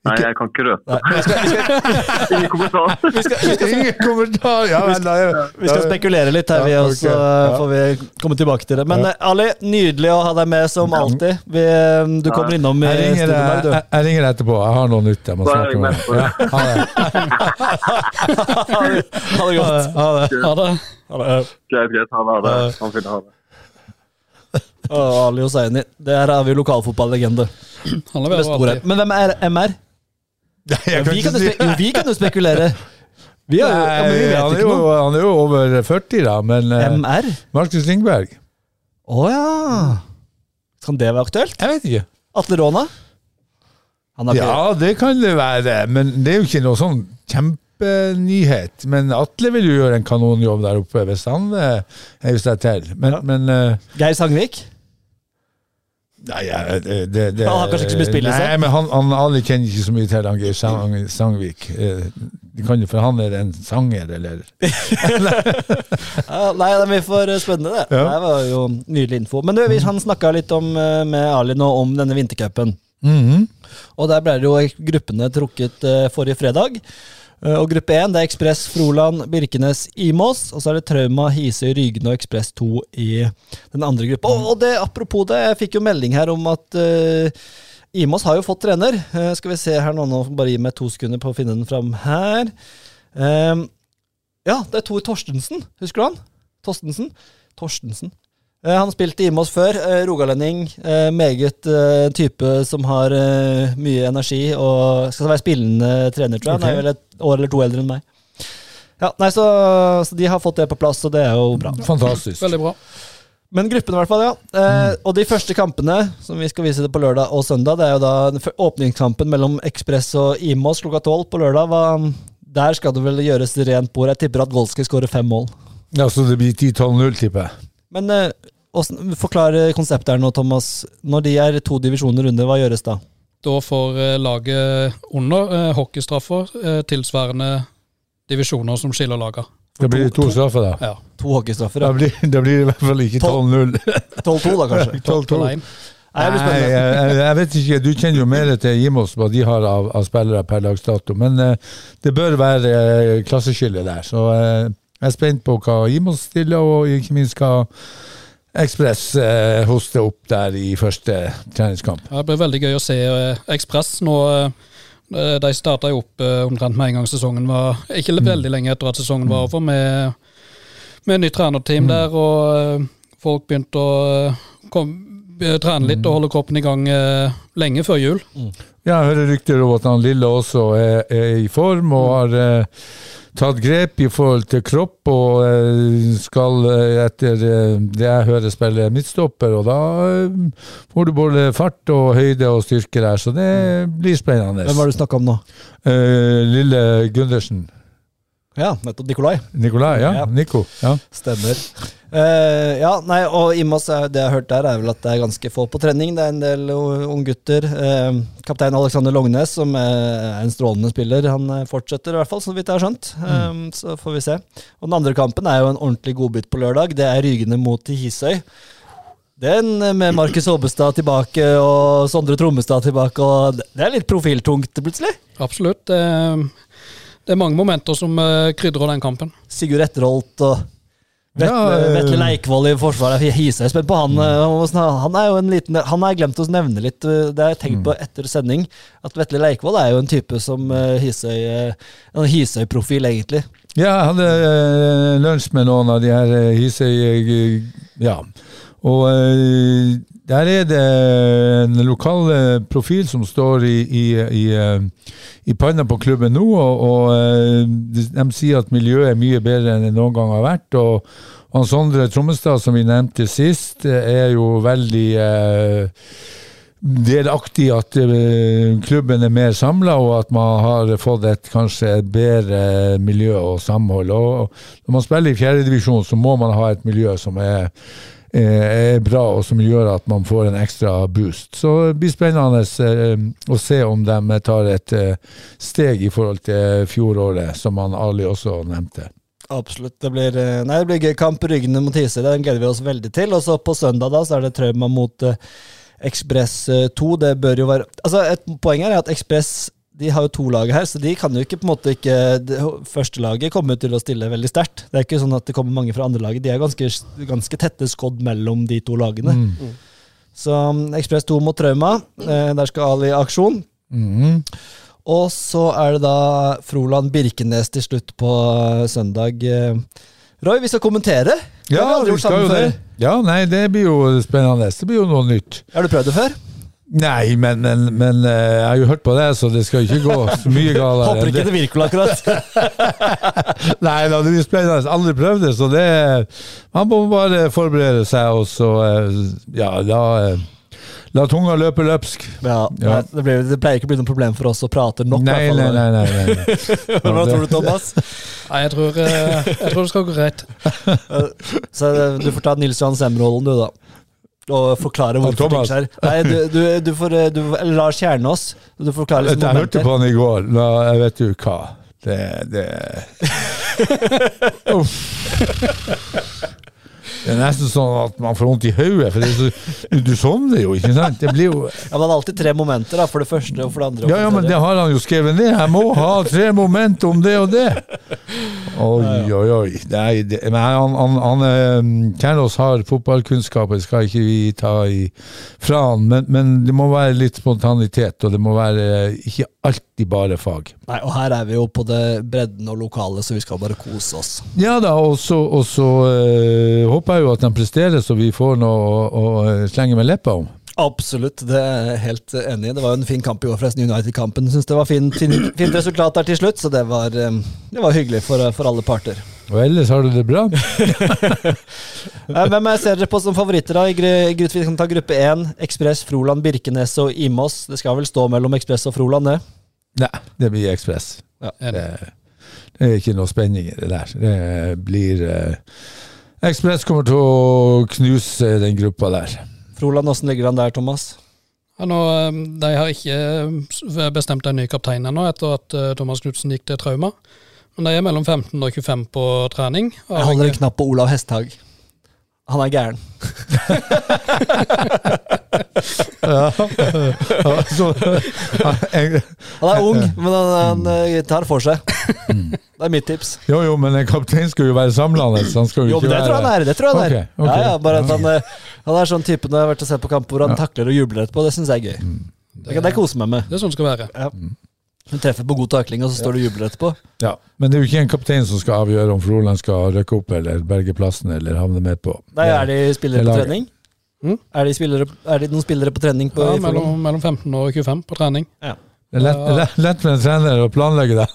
S7: nei, jeg kan ikke røpe.
S5: Nei, vi, skal, vi, skal,
S7: Ingen kommentar.
S3: Ingen kommentar! Ja, men, da, er-
S5: vi skal spekulere litt her, vi,
S3: Ja,
S5: og så
S3: ok. Ja.
S5: får vi komme tilbake til det. Men eh, Ali, nydelig å ha deg med som alltid. Vi, eh, du kommer innom i
S3: jeg ringer,
S5: studio i dag,
S3: jeg,
S5: du.
S3: jeg ringer etterpå. Jeg har noe nytt jeg må
S7: Bare
S3: snakke om.
S7: ring meg.
S3: Ja, ha det.
S5: Ha det ha det godt.
S3: Ha det.
S6: Ha det.
S7: Greit, greit. Ha det. Han vil ha det.
S5: Å, Ali Hosseini. Der har vi lokalfotballegende.
S6: Han
S5: Med
S6: leverer
S5: storhet.
S6: alltid.
S5: Men hvem er MR? Ja,
S3: Jeg kan
S5: vi, kan
S3: ikke
S5: jo
S3: si
S5: spe- jo, vi kan jo spekulere. Vi har jo, ja, men vi
S3: Nei, han
S5: vet
S3: er,
S5: ikke
S3: jo,
S5: noe.
S3: han er jo over 40, da, men eh,
S5: MR?
S3: Markus Lindberg?
S5: Å ja. Kan det være aktuelt?
S3: Jeg vet ikke.
S5: Atle Råna? Han har ikke
S3: Ja, det kan det være, men det er jo ikke noe sånn kjempenyhet. Men Atle vil jo gjøre en kanonjobb der oppe hvis han eh, heiver seg til. Men, men eh,
S5: Geir Sangvik?
S3: Nei, ja, det, det, det liksom.
S5: Han har kanskje ikke så mye spill i seg?
S3: Nei, men han, han Ali kjenner ikke så mye til han Geir Sang, Sangvik. Eh, Vi kan jo, for han er en sanger, eller
S5: Ja, nei, det blir for spennende, det.
S3: Ja.
S5: Det var jo nydelig info. Men du, vi, han snakka litt om, eh, med Ali nå om denne vintercupen.
S3: Mhm.
S5: Og der ble det jo gruppene trukket eh, forrige fredag. Eh, Og gruppe 1 det er Ekspress, Froland, Birkenes, Imås. Og så er det Trauma, Hisøy, Rygen og Ekspress 2 i den andre gruppa. Og- Og det, apropos det, jeg fikk jo melding her om at eh, Imås har jo fått trener. Eh, skal vi se her nå, nå bare gi meg to sekunder på å finne den fram her. Eh, ja, det er Tor Torstensen. Husker du han? Torstensen? Torstensen. Eh, Han spilte i Moss før. eh, Rogalending. eh, Meget eh, type som har eh, mye energi og skal være spillende trener, tror jeg. Han er vel et år eller to eldre enn meg. Ja, nei, så, så de har fått det på plass, og det er jo bra.
S3: Mhm. Fantastisk.
S6: Veldig bra.
S5: Men gruppene, i hvert fall. ja. Eh, Og de første kampene, som vi skal vise det på lørdag og søndag, det er jo da den fø- åpningskampen mellom Ekspress og Imos klokka tolv på lørdag. Hva, der skal det vel gjøres rent bord. Jeg tipper at Golski skårer fem mål.
S3: Ja, så det blir 10-12-0, tipper jeg.
S5: Men eh, åssen- forklar eh, konseptet her nå, Thomas. Når de er to divisjoner under, hva gjøres da?
S6: Da får eh, laget under eh, hockeystraffer eh, tilsvarende divisjoner som skiller laga.
S3: Da blir det to straffer, da.
S6: Ja.
S5: To hockeystraffer?
S3: Da
S5: ja.
S3: blir, da blir det i hvert fall ikke 12-0.
S5: 12-2, da, kanskje?
S3: 12-2.
S6: Alene.
S5: Nei, det blir
S3: Nei,
S5: spennende.
S3: jeg, jeg- jeg vet ikke. Du kjenner jo mer til Gimos hva de har av, av spillere per dags dato. Men eh, det bør være eh, klasseskille der. Så eh, jeg er spent på hva Gimos stiller, og ikke minst hva Ekspress eh, hoster opp der i første treningskamp.
S6: Ja, Det blir veldig gøy å se eh, Ekspress nå. eh, De starta jo opp eh, omtrent med en gang sesongen var Ikke veldig lenge etter at sesongen var over, med, med nytt trenerteam der, og eh, folk begynte å eh, kom, be- trene litt og holde kroppen i gang eh, lenge før jul.
S3: Ja, jeg hører rykter om at han Lille også er, er i form
S5: Mm.
S3: og har eh, tatt grep i forhold til kropp og eh, skal eh, etter eh, det jeg hører spille midtstopper, og da eh, får du både fart og høyde og styrke der, så det blir spennende.
S5: Mm. Hvem var det du snakka om nå?
S3: Eh, Lille Gundersen.
S5: Ja, nettopp Nikolai.
S3: Nikolai, ja?
S5: Ja.
S3: Nico. Ja.
S5: Stemmer. Eh, ja, nei, og Imos, er- det jeg har hørt der, er vel at det er ganske få på trening. Det er en del unggutter. Uh, Kaptein Alexander Lognes, som eh, er en strålende spiller, han eh, fortsetter i hvert fall, så vidt jeg har skjønt. Eh, så får vi se. Og den andre kampen er jo en ordentlig godbit på lørdag. Det er Rygene mot Hisøy. Den eh, med Markus Aabestad tilbake og Sondre Trommestad tilbake, og det- det er litt profiltungt plutselig.
S6: Absolutt. Det, det er mange momenter som eh, krydrer den kampen.
S5: Sigurd Etterholt og Vetle,
S3: Ja, Mm. eh,
S5: Vetle Leikvoll i forsvaret. Jeg hiser jeg er spent på han. eh, og hvordan han- Han er jo en liten Han har jeg glemt å nevne litt, eh, det har jeg
S3: Mm.
S5: tenkt på etter sending. At Vetle Leikvoll er jo en type som eh, Hisøy eh, En Hisøy-profil, egentlig.
S3: Ja, jeg hadde eh, lunsj med noen av de her eh, Hisøy eh, Ja. Og eh, der er det en lokal eh, profil som står i, i, i, eh, i panna på klubben nå, og, og eh, de, de sier at miljøet er mye bedre enn det noen gang har vært. og han Sondre Trommestad, som vi nevnte sist, eh, er jo veldig eh, delaktig i at eh, klubben er mer samla, og at man har fått et kanskje et bedre miljø og samhold. Og når man spiller i fjerdedivisjon, så må man ha et miljø som er, eh, er bra, og som gjør at man får en ekstra boost. Så det blir spennende eh, å se om de tar et eh, steg i forhold til fjoråret, som han Ali også nevnte.
S5: Absolutt. Det blir, eh, nei, det blir gøy kamp. Ryggene mot Hisøy, den gleder vi oss veldig til. Og så på søndag da, så er det Trauma mot eh, Ekspress eh, 2. Det bør jo være Altså, et poeng her er at Ekspress de har jo to lag her, så de kan jo ikke på en måte ikke det, Førstelaget kommer jo til å stille veldig sterkt. Det er ikke sånn at det kommer mange fra andre laget. De er ganske, ganske tette skodd mellom de to lagene. Så mm, Ekspress 2 mot Trauma. Eh, der skal Ali i aksjon.
S3: Mhm.
S5: Og så er det da Froland Birkenes til slutt på eh, søndag. Eh, Roy, vi skal kommentere. Det har
S3: Ja,
S5: aldri
S3: vi
S5: gjort
S3: skal jo
S5: sammen
S3: det.
S5: før.
S3: Ja, nei, det blir jo spennende. Det blir jo noe nytt.
S5: Har du prøvd det før?
S3: Nei, men, men, men eh, jeg har jo hørt på det, så det skal ikke gå så mye galere.
S5: Håper ikke det virker akkurat.
S3: Nei da, det blir spennende. Aldri prøvd det, så det Man må bare forberede seg, og så eh, Ja, la, eh, la tunga løpe løpsk.
S5: Ja,
S3: Ja.
S5: nei, Det, blir, det pleier ikke å bli noe problem for oss å prate nok. i
S3: Nei,
S5: hvert
S3: nei,
S5: fall.
S3: nei. nei, nei.
S5: Hva tror du, Thomas?
S6: Nei, jeg tror, eh, jeg tror det skal gå greit.
S5: Så eh, Du får ta Nils Johan Semmerholden, du, da. Og forklare hvorfor ting
S3: Thomas.
S5: skjer. Nei, du, du, du får eh, du, eller Lars Kjernås. Du forklarer
S3: Jeg
S5: liksom
S3: hørte på han i går. La, jeg vet jo hva. Det, det Uff. Det er nesten sånn at man får vondt i hodet, for det er så, du sovner jo, ikke sant? Det blir jo
S5: Ja, men det er alltid tre momenter, da. For det første og for det andre. og
S3: Ja,
S5: for
S3: ja,
S5: det
S3: men det
S5: tredje.
S3: har han jo skrevet ned. Jeg må ha tre moment om det og det. Oi, oi, oi. Nei, det, men han, han, han eh, Kjernås har fotballkunnskaper, det skal ikke vi ta i, fra han. Men, men det må være litt spontanitet, og det må være eh, ikke alltid bare fag.
S5: Nei, og her er vi jo på det bredden og lokale, så vi skal bare kose oss.
S3: Ja da, og så, og så eh, håper jeg jo at de presterer, så vi får noe å, å eh, slenge med leppa om.
S5: Absolutt, det er jeg helt enig i. Det var jo en fin kamp i år, forresten. United-kampen. Syns det var fin, fin, fint resultat der til slutt, så det var, eh, det var hyggelig for, for alle parter.
S3: Og ellers har du det bra?
S5: Eh, Hvem er- ser dere på som favoritter da? i gru- i gru- Vi kan ta gruppe én. Ekspress, Froland, Birkenes og Imos. Det skal vel stå mellom Ekspress og Froland, det.
S3: Nei, det blir Ekspress.
S6: Enig.
S3: Det, det er ikke noe spenning i det der. Det blir eh, Ekspress kommer til å knuse den gruppa der.
S5: Froland, åssen ligger han der, Thomas?
S6: Ja, nå, eh, de har ikke eh, bestemt en ny kaptein ennå, etter at eh, Thomas Knutsen gikk til trauma. Men de er mellom 15 og 25 på trening.
S5: Jeg holder en knapp på Olav Hesthaug. Han er gæren.
S3: Ja, så, eh, en,
S5: Han er ung, men han, han eh, tar for seg. Det er mitt tips.
S3: jo, jo, men en kaptein skal jo være samlende. så Han skal jo,
S5: Jo,
S3: ikke
S5: men det tror jeg
S3: være
S5: han er. det tror jeg Han er
S3: Ok, ok.
S5: Ja, ja, bare at han, eh, han er sånn typen jeg har vært og sett på kamper hvor han takler og jubler etterpå. Det syns jeg er gøy.
S3: Mm.
S5: Det kan jeg kose meg med.
S6: Det er sånn det skal være.
S5: Du treffer på god takling, og så står du og jubler etterpå.
S3: ja, Men det er jo ikke en kaptein som skal avgjøre om Froland skal rykke opp eller berge plassen eller havne med på.
S5: Nei, er de spillere
S3: Det
S5: på
S3: laget.
S5: trening?
S6: Mm.
S5: Er, de spillere, er de noen spillere på trening på
S6: Ja,
S5: i Froland?
S6: mellom, mellom 15 og 25 på trening.
S3: Det er lett, lett, lett for en trener å planlegge det.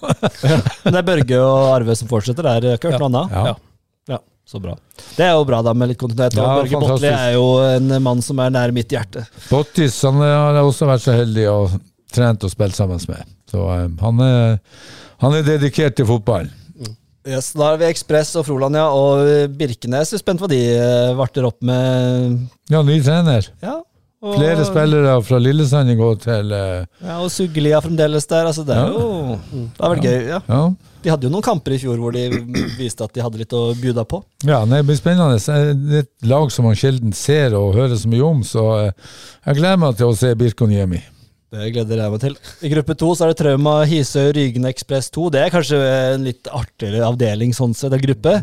S5: Men det er Børge og Arve som fortsetter der, jeg har ikke hørt
S6: Ja.
S5: noe annet?
S3: Ja.
S5: Ja, så bra. Det er jo bra da med litt kontinuitet. og
S3: Ja,
S5: Børge Bottli
S3: fantastisk.
S5: er jo en mann som er nær mitt hjerte.
S3: Bottis han eh, har jeg også vært så heldig å trent og spilt sammen med. Så eh, han, er, han er dedikert til fotballen.
S5: Yes, da er vi Ekspress og Froland, ja. Og Birkenes. Jeg er spent hva de eh, varter opp med.
S3: Ja, ny trener.
S5: Ja, og,
S3: Flere spillere fra Lillesand går til eh,
S5: Ja, og Suglia fremdeles der. Altså, det er jo Det er vel gøy. ja.
S3: Ja,
S5: De hadde jo noen kamper i fjor hvor de viste at de hadde litt å bjuda på.
S3: ja nei, det blir spennende. eh, Det er et lag som man sjelden ser og hører så mye om, så eh, jeg gleder meg til å se Birkoniemi.
S5: Det gleder jeg meg til. I gruppe to så er det Trauma, Hisøy, Rygen Ekspress 2. Det er kanskje en litt artigere avdeling sånn sett, en gruppe.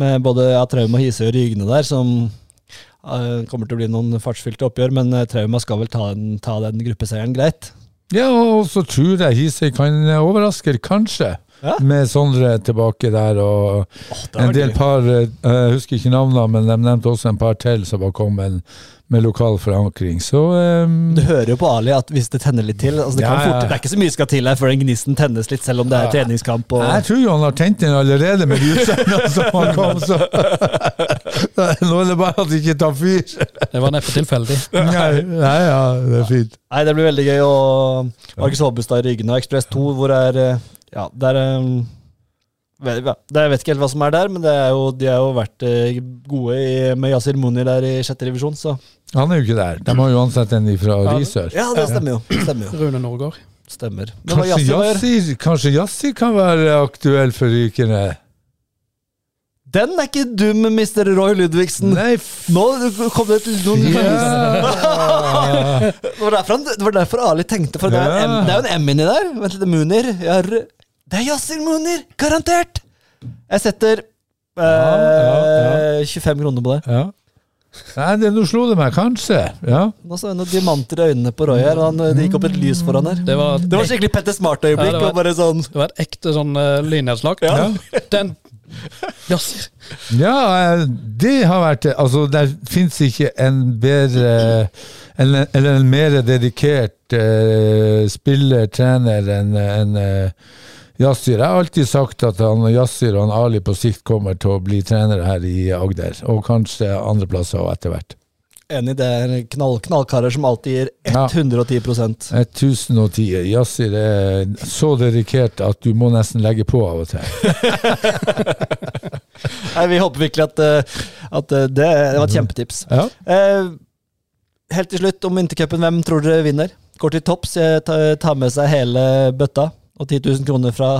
S5: Med både ja, Trauma, Hisøy og Rygene der, som eh, kommer til å bli noen fartsfylte oppgjør. Men eh, Trauma skal vel ta den, ta den gruppeseieren greit.
S3: Ja, og så tror jeg Hisøy kan overraske, kanskje.
S5: Ja.
S3: Med Sondre tilbake der og
S5: det
S3: en
S5: var
S3: del
S5: gøy.
S3: par eh, Jeg husker ikke navnene, men de nevnte også en par til som var kommet med lokal forankring. Så eh,
S5: Du hører jo på Ali at hvis det tenner litt til altså det, kan
S3: Ja, ja.
S5: fort, det er ikke så mye skal til her før den gnisten tennes litt, selv om det er treningskamp. Og,
S3: Jeg tror jo han har tent den allerede med de utseendene som han kom, så Nå er det bare at det ikke tar fyr.
S6: Det var neppe tilfeldig.
S3: Nei, nei, ja, det er fint.
S5: Nei, det blir veldig gøy. Og Markus Håbestad i Ryggen og Ekspress 2, hvor er eh, Ja, der eh, vel, ja, det- Jeg vet ikke helt hva som er der, men det er jo, de har jo vært eh, gode i, med Yasir Munir der i sjette revisjon, så
S3: Han er jo ikke der. De har jo ansatt en fra Risør.
S5: Ja, det stemmer jo. Stemmer. jo.
S6: Rune Norgård.
S5: Stemmer. Men hva
S3: Kanskje
S5: Yasir var,
S3: Yassir, kanskje Yassir kan være aktuell for Rykene?
S5: den er ikke dum, Mr. Roy Ludvigsen!
S3: Nei, f...
S5: Nå kom det til noen
S3: Ja.
S5: det, var derfor han, det var derfor Ali tenkte, for det er, en,
S3: Ja.
S5: M- det er jo en M inni der. Vent litt, Munir. Ja, r- det er Yasir Munir! Garantert! Jeg setter eh,
S3: ja,
S5: 25 kroner på det.
S3: ja. Nei, det, nå slo det meg. Kanskje. Ja.
S5: Nå så jeg noen diamanter i øynene på Roy her. og Han, eh, det gikk opp et lys foran her.
S6: Det var,
S5: Det var skikkelig Petter
S6: Ja,
S5: Smart-øyeblikk.
S6: det var-
S5: og bare sånn
S6: det var et ekte sånn uh, lynnedslag.
S5: Ja.
S6: Den Jasser.
S3: Ja, eh, det har vært det. Altså, det fins ikke en bedre Eller, eller en mer dedikert eh, spiller, trener, enn enn, eh, Yassir. Jeg har alltid sagt at han Yassir og han Ali på sikt kommer til å bli trenere her i Agder. Og kanskje andre plasser også etter hvert.
S5: Enig, det er knall, knallkarer som alltid gir
S3: Ja.
S5: 110
S3: 1010. Yassir er så dedikert at du må nesten legge på av og til.
S5: Nei, Vi håper virkelig at, eh, at eh, det, det var et kjempetips.
S3: Ja.
S5: Eh, helt til slutt om vintercupen. Hvem tror dere vinner? Går til topps, eh, ta- tar med seg hele bøtta og 10 000 kroner fra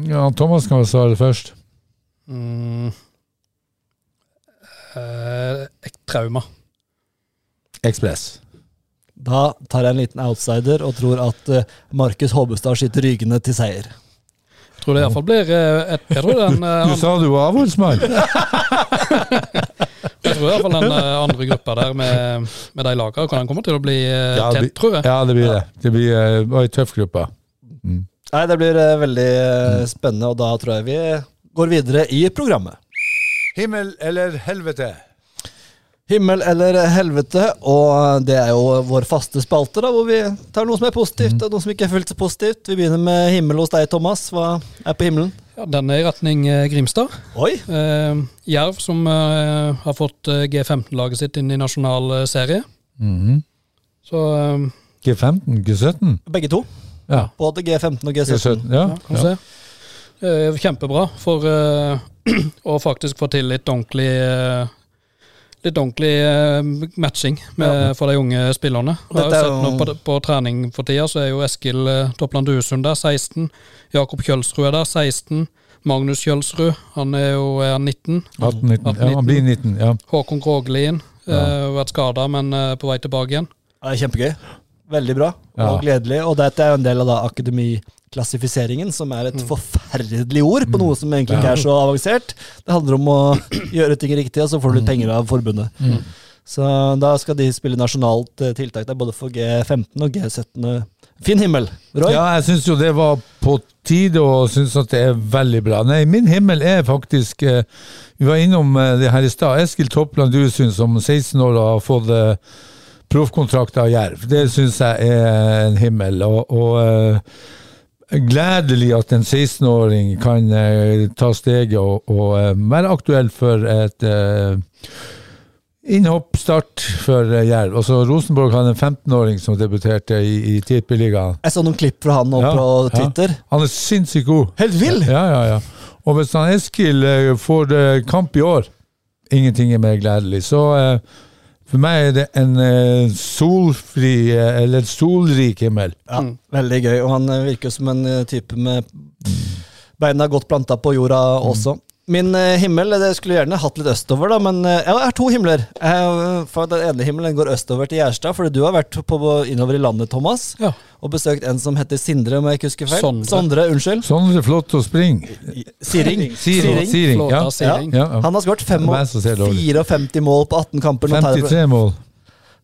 S3: Ja, Thomas kan vel svare først.
S6: Mm. Eh, ek- trauma.
S3: Ekspress.
S5: Da tar jeg en liten outsider og tror at eh, Markus Håbestad skyter rygene til seier.
S6: Jeg tror det iallfall blir eh, et, Jeg tror den,
S3: Du
S6: eh, an-
S3: sa du var avholdsmann!
S6: jeg tror i hvert fall den eh, andre gruppa der med, med de lagene kan den komme til å bli eh,
S3: Ja, det
S6: tett, tror jeg.
S3: Ja, det blir det. Det blir eh, var ei tøff gruppe.
S5: Nei, det blir eh, veldig eh, spennende, og da tror jeg vi går videre i programmet.
S3: Himmel eller helvete?
S5: Himmel eller helvete, og eh, det er jo vår faste spalte, da, hvor vi tar noe som er positivt, og noe som ikke er fullt så positivt. Vi begynner med himmel hos deg, Thomas. Hva er på himmelen?
S6: Ja, den er i retning eh, Grimstad.
S5: Oi!
S6: Eh, Jerv som eh, har fått eh, G15-laget sitt inn i nasjonal eh, serie.
S3: Mhm.
S6: Så eh,
S3: G15? G17?
S5: Begge to.
S3: Ja.
S5: Både G15 og G17.
S3: G17 ja.
S6: ja, kan vi se. Eh, kjempebra for eh, å faktisk få til litt ordentlig eh, Litt ordentlig eh, matching med, for de unge spillerne. Jeg har
S5: Dette
S6: jo
S5: er
S6: sett nå
S5: jo-
S6: på, på trening for tida, så er jo Eskil eh, Toppland Duesund der, 16. Jakob Kjølsrud er der, 16. Magnus Kjølsrud, han er jo er han 19.
S3: 18-19. Ja, han blir 19. Ja.
S6: Håkon Kroglien eh, har vært skada, men eh, på vei tilbake igjen.
S5: Ja, det er kjempegøy. Veldig bra
S3: Ja.
S5: og gledelig. Og dette er jo en del av da akademiklassifiseringen, som er et forferdelig ord på
S3: Mm.
S5: noe som egentlig ikke er så avansert. Det handler om å gjøre ting riktig, og så
S3: Mm.
S5: får du litt penger av forbundet. Så da skal de spille nasjonalt eh, tiltak der, både for G15 og G17. Fin himmel, Roy.
S3: Ja, jeg syns jo det var på tide, og syns at det er veldig bra. Nei, min himmel er faktisk eh, Vi var innom eh, det her i stad. Eskil Toppland Duesund som 16 år har fått eh, proffkontrakt av Jerv. Det syns jeg er en himmel. Og, og eh, gledelig at en 16-åring kan eh, ta steget og, og eh, være aktuell for et eh, Innhopp, start for eh, Jerv. Og så Rosenborg hadde en 15-åring som debuterte i, i Tippeligaen.
S5: Jeg så noen klipp fra han nå
S3: Ja,
S5: på
S3: ja.
S5: Twitter.
S3: Han er sinnssykt god.
S5: Helt vill!
S3: Ja, ja, ja. Og hvis han Eskil eh, får eh, kamp i år, ingenting er mer gledelig. Så eh, for meg er det en eh, solfri, eh, eller solrik himmel.
S5: Ja, Veldig gøy, og han eh, virker som en eh, type med beina godt planta på jorda
S3: Mm.
S5: også. Min eh, himmel eh, det skulle jeg gjerne hatt litt østover, da, men eh, jeg har to himler. Eh, For Den ene himmelen går østover til Gjerstad, fordi du har vært på, innover i landet, Thomas,
S6: Ja.
S5: og besøkt en som heter Sindre, om jeg ikke husker feil.
S6: Sondre.
S5: unnskyld.
S3: Sånn er det flott å springe.
S5: Siring.
S3: Siring. Siring, ja.
S6: Flåta Siring.
S3: Ja, ja.
S5: Han har skåret fem-
S3: Hvem som ser dårlig.
S5: 54 mål på 18 kamper. Nå tar jeg-
S3: 53 mål.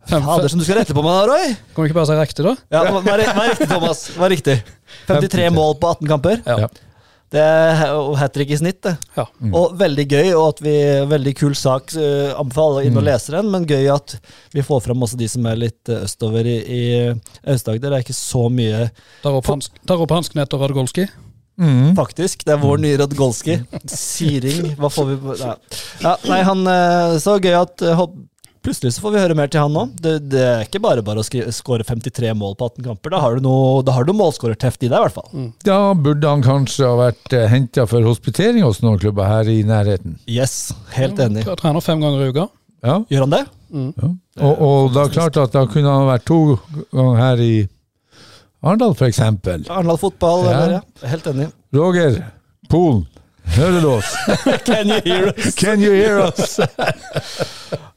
S5: Fader, som du skal rette på meg da, Roy!
S6: Kan vi ikke bare si riktig, da?
S5: Ja, hva hva er hva er riktig, Thomas? Hva er riktig? 53
S3: 53.
S5: mål på 18 kamper.
S3: Ja.
S5: Det er hat trick i snitt, det.
S6: Ja.
S5: Og veldig gøy, og at vi, veldig kul sak. eh, Anbefaler alle inn og leser den, men gøy at vi får fram også de som er litt eh, østover i, i Aust-Agder. Det er ikke så mye,
S6: Tar opp, hans, tar opp hansken etter Radgolski.
S3: Mm.
S5: faktisk. Det er vår nye Radgolski. Siring, hva får vi på ja. ja, Nei, han eh, Så gøy at eh, hopp- Plutselig så får vi høre mer til han nå. Det, det er ikke bare bare å skri- skåre 53 mål på 18 kamper. Da har du noe, da har du målskårerteft i deg, i hvert fall.
S3: Da burde han kanskje ha vært eh, henta for hospitering hos noen klubber her i nærheten.
S5: Yes, helt enig.
S6: Trener fem ganger i uka.
S3: Ja.
S5: Gjør han det?
S3: Og, og da klart at da kunne han vært to ganger her i Arendal, for eksempel.
S5: Arendal fotball,
S3: Ja.
S5: eller? Ja. Helt enig.
S3: Roger, Polen, hører du oss?
S5: Can you hear us?
S3: Can you hear us?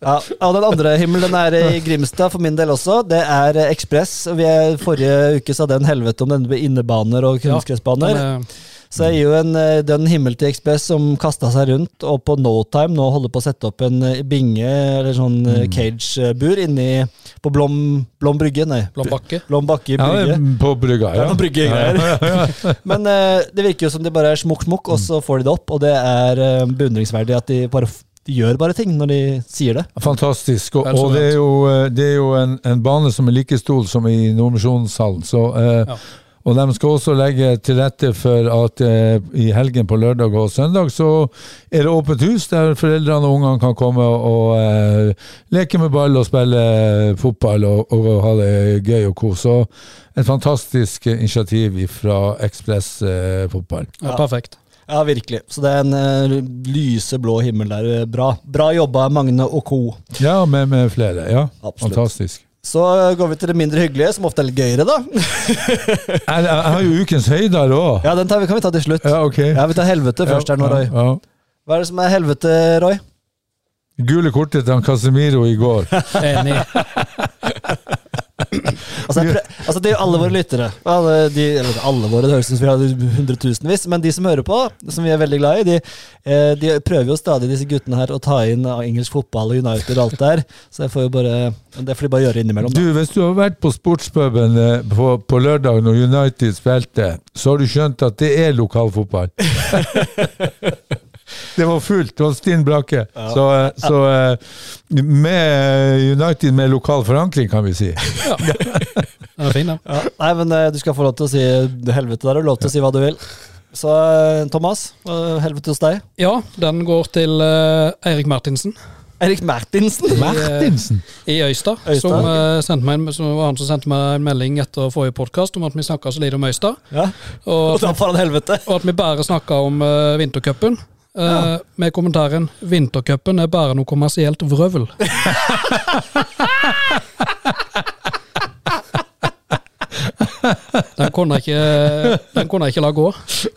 S5: Ja, og den andre himmelen er i Grimstad for min del også. Det er eh, Ekspress. Vi er- Forrige uke sa den helvete om denne med innebaner og kunstgressbaner.
S6: Men, eh,
S5: Så jeg gir jo en, eh, den himmel til Ekspress som kasta seg rundt og på no time nå holder på å sette opp en eh, binge, eller sånn eh, cage-bur, inni på Blom, Blom brygge. Nei,
S6: Blombakke.
S5: Blom bakke i
S3: Ja,
S5: brygge.
S3: på brygga,
S5: Det er
S3: ja.
S5: noen bryggegreier. Men eh, det virker jo som de bare er smukk, smukk, og så Mm.
S3: Mm.
S5: får de det opp. Og det er eh, beundringsverdig at de bare f- de gjør bare ting når de sier det.
S3: Fantastisk. Og,
S6: Vel så
S3: og det er jo, eh, det er jo en, en bane som er like stor som i Nordmisjonshallen. Så, eh,
S6: Ja.
S3: Og de skal også legge til rette for at eh, i helgen på lørdag og søndag så er det åpent hus der foreldrene og ungene kan komme og eh, leke med ball og spille eh, fotball og, og ha det gøy og kos. Så et fantastisk initiativ fra Ekspress eh, fotball.
S6: Ja, perfekt.
S5: Ja, virkelig. Så det er en eh, lyseblå himmel der. Bra. Bra jobba, Magne og co.
S3: Ja, med, med flere. Ja,
S5: Absolutt.
S3: fantastisk.
S5: Så eh, går vi til det mindre hyggelige, som ofte er litt gøyere, da.
S3: Jeg, jeg har jo ukens høyder òg.
S5: Ja, den tar vi, kan vi ta til slutt.
S3: Ja, ok.
S5: Ja, Vi tar helvete først her nå, Roy.
S3: Ja, ja.
S5: Hva er det som er helvete, Roy?
S3: Gule kortet til han Casemiro i går.
S6: Enig.
S5: Altså, jeg prø- altså Det er jo alle våre lyttere. Alle, de, eller alle våre, det høres ut som vi har hundretusenvis. Men de som hører på, som vi er veldig glad i, de, eh, de prøver jo stadig disse guttene her å ta inn av engelsk fotball og United og alt det her. Så jeg får jo bare, det får de bare gjøre innimellom.
S3: Du,
S5: Da.
S3: Hvis du har vært på sportspuben eh, på, på lørdag når United spilte, så har du skjønt at det er lokalfotball. det var fullt hos din brakke. Så, eh, så eh, med eh, United med lokal forankring, kan vi si.
S6: Den er fin, den.
S5: Ja. Nei, men eh, du skal få lov til å si eh, helvete der, og lov til å si hva du vil. Så eh, Thomas, hva er helvete hos deg?
S6: Ja, den går til eh, Eirik Martinsen
S5: Erik Martinsen!
S3: Martinsen!
S6: i Øystad.
S5: Øystad.
S6: Som, eh, sendte meg en, som var han som sendte meg en melding etter forrige podkast om at vi snakka så lite om Øystad.
S5: Ja.
S6: Og,
S5: Og da får han helvete.
S6: og at vi bare snakka om uh, vintercupen. eh, Med kommentaren 'Vintercupen er bare noe kommersielt vrøvl'. Den kunne jeg ikke, den kunne jeg ikke la gå.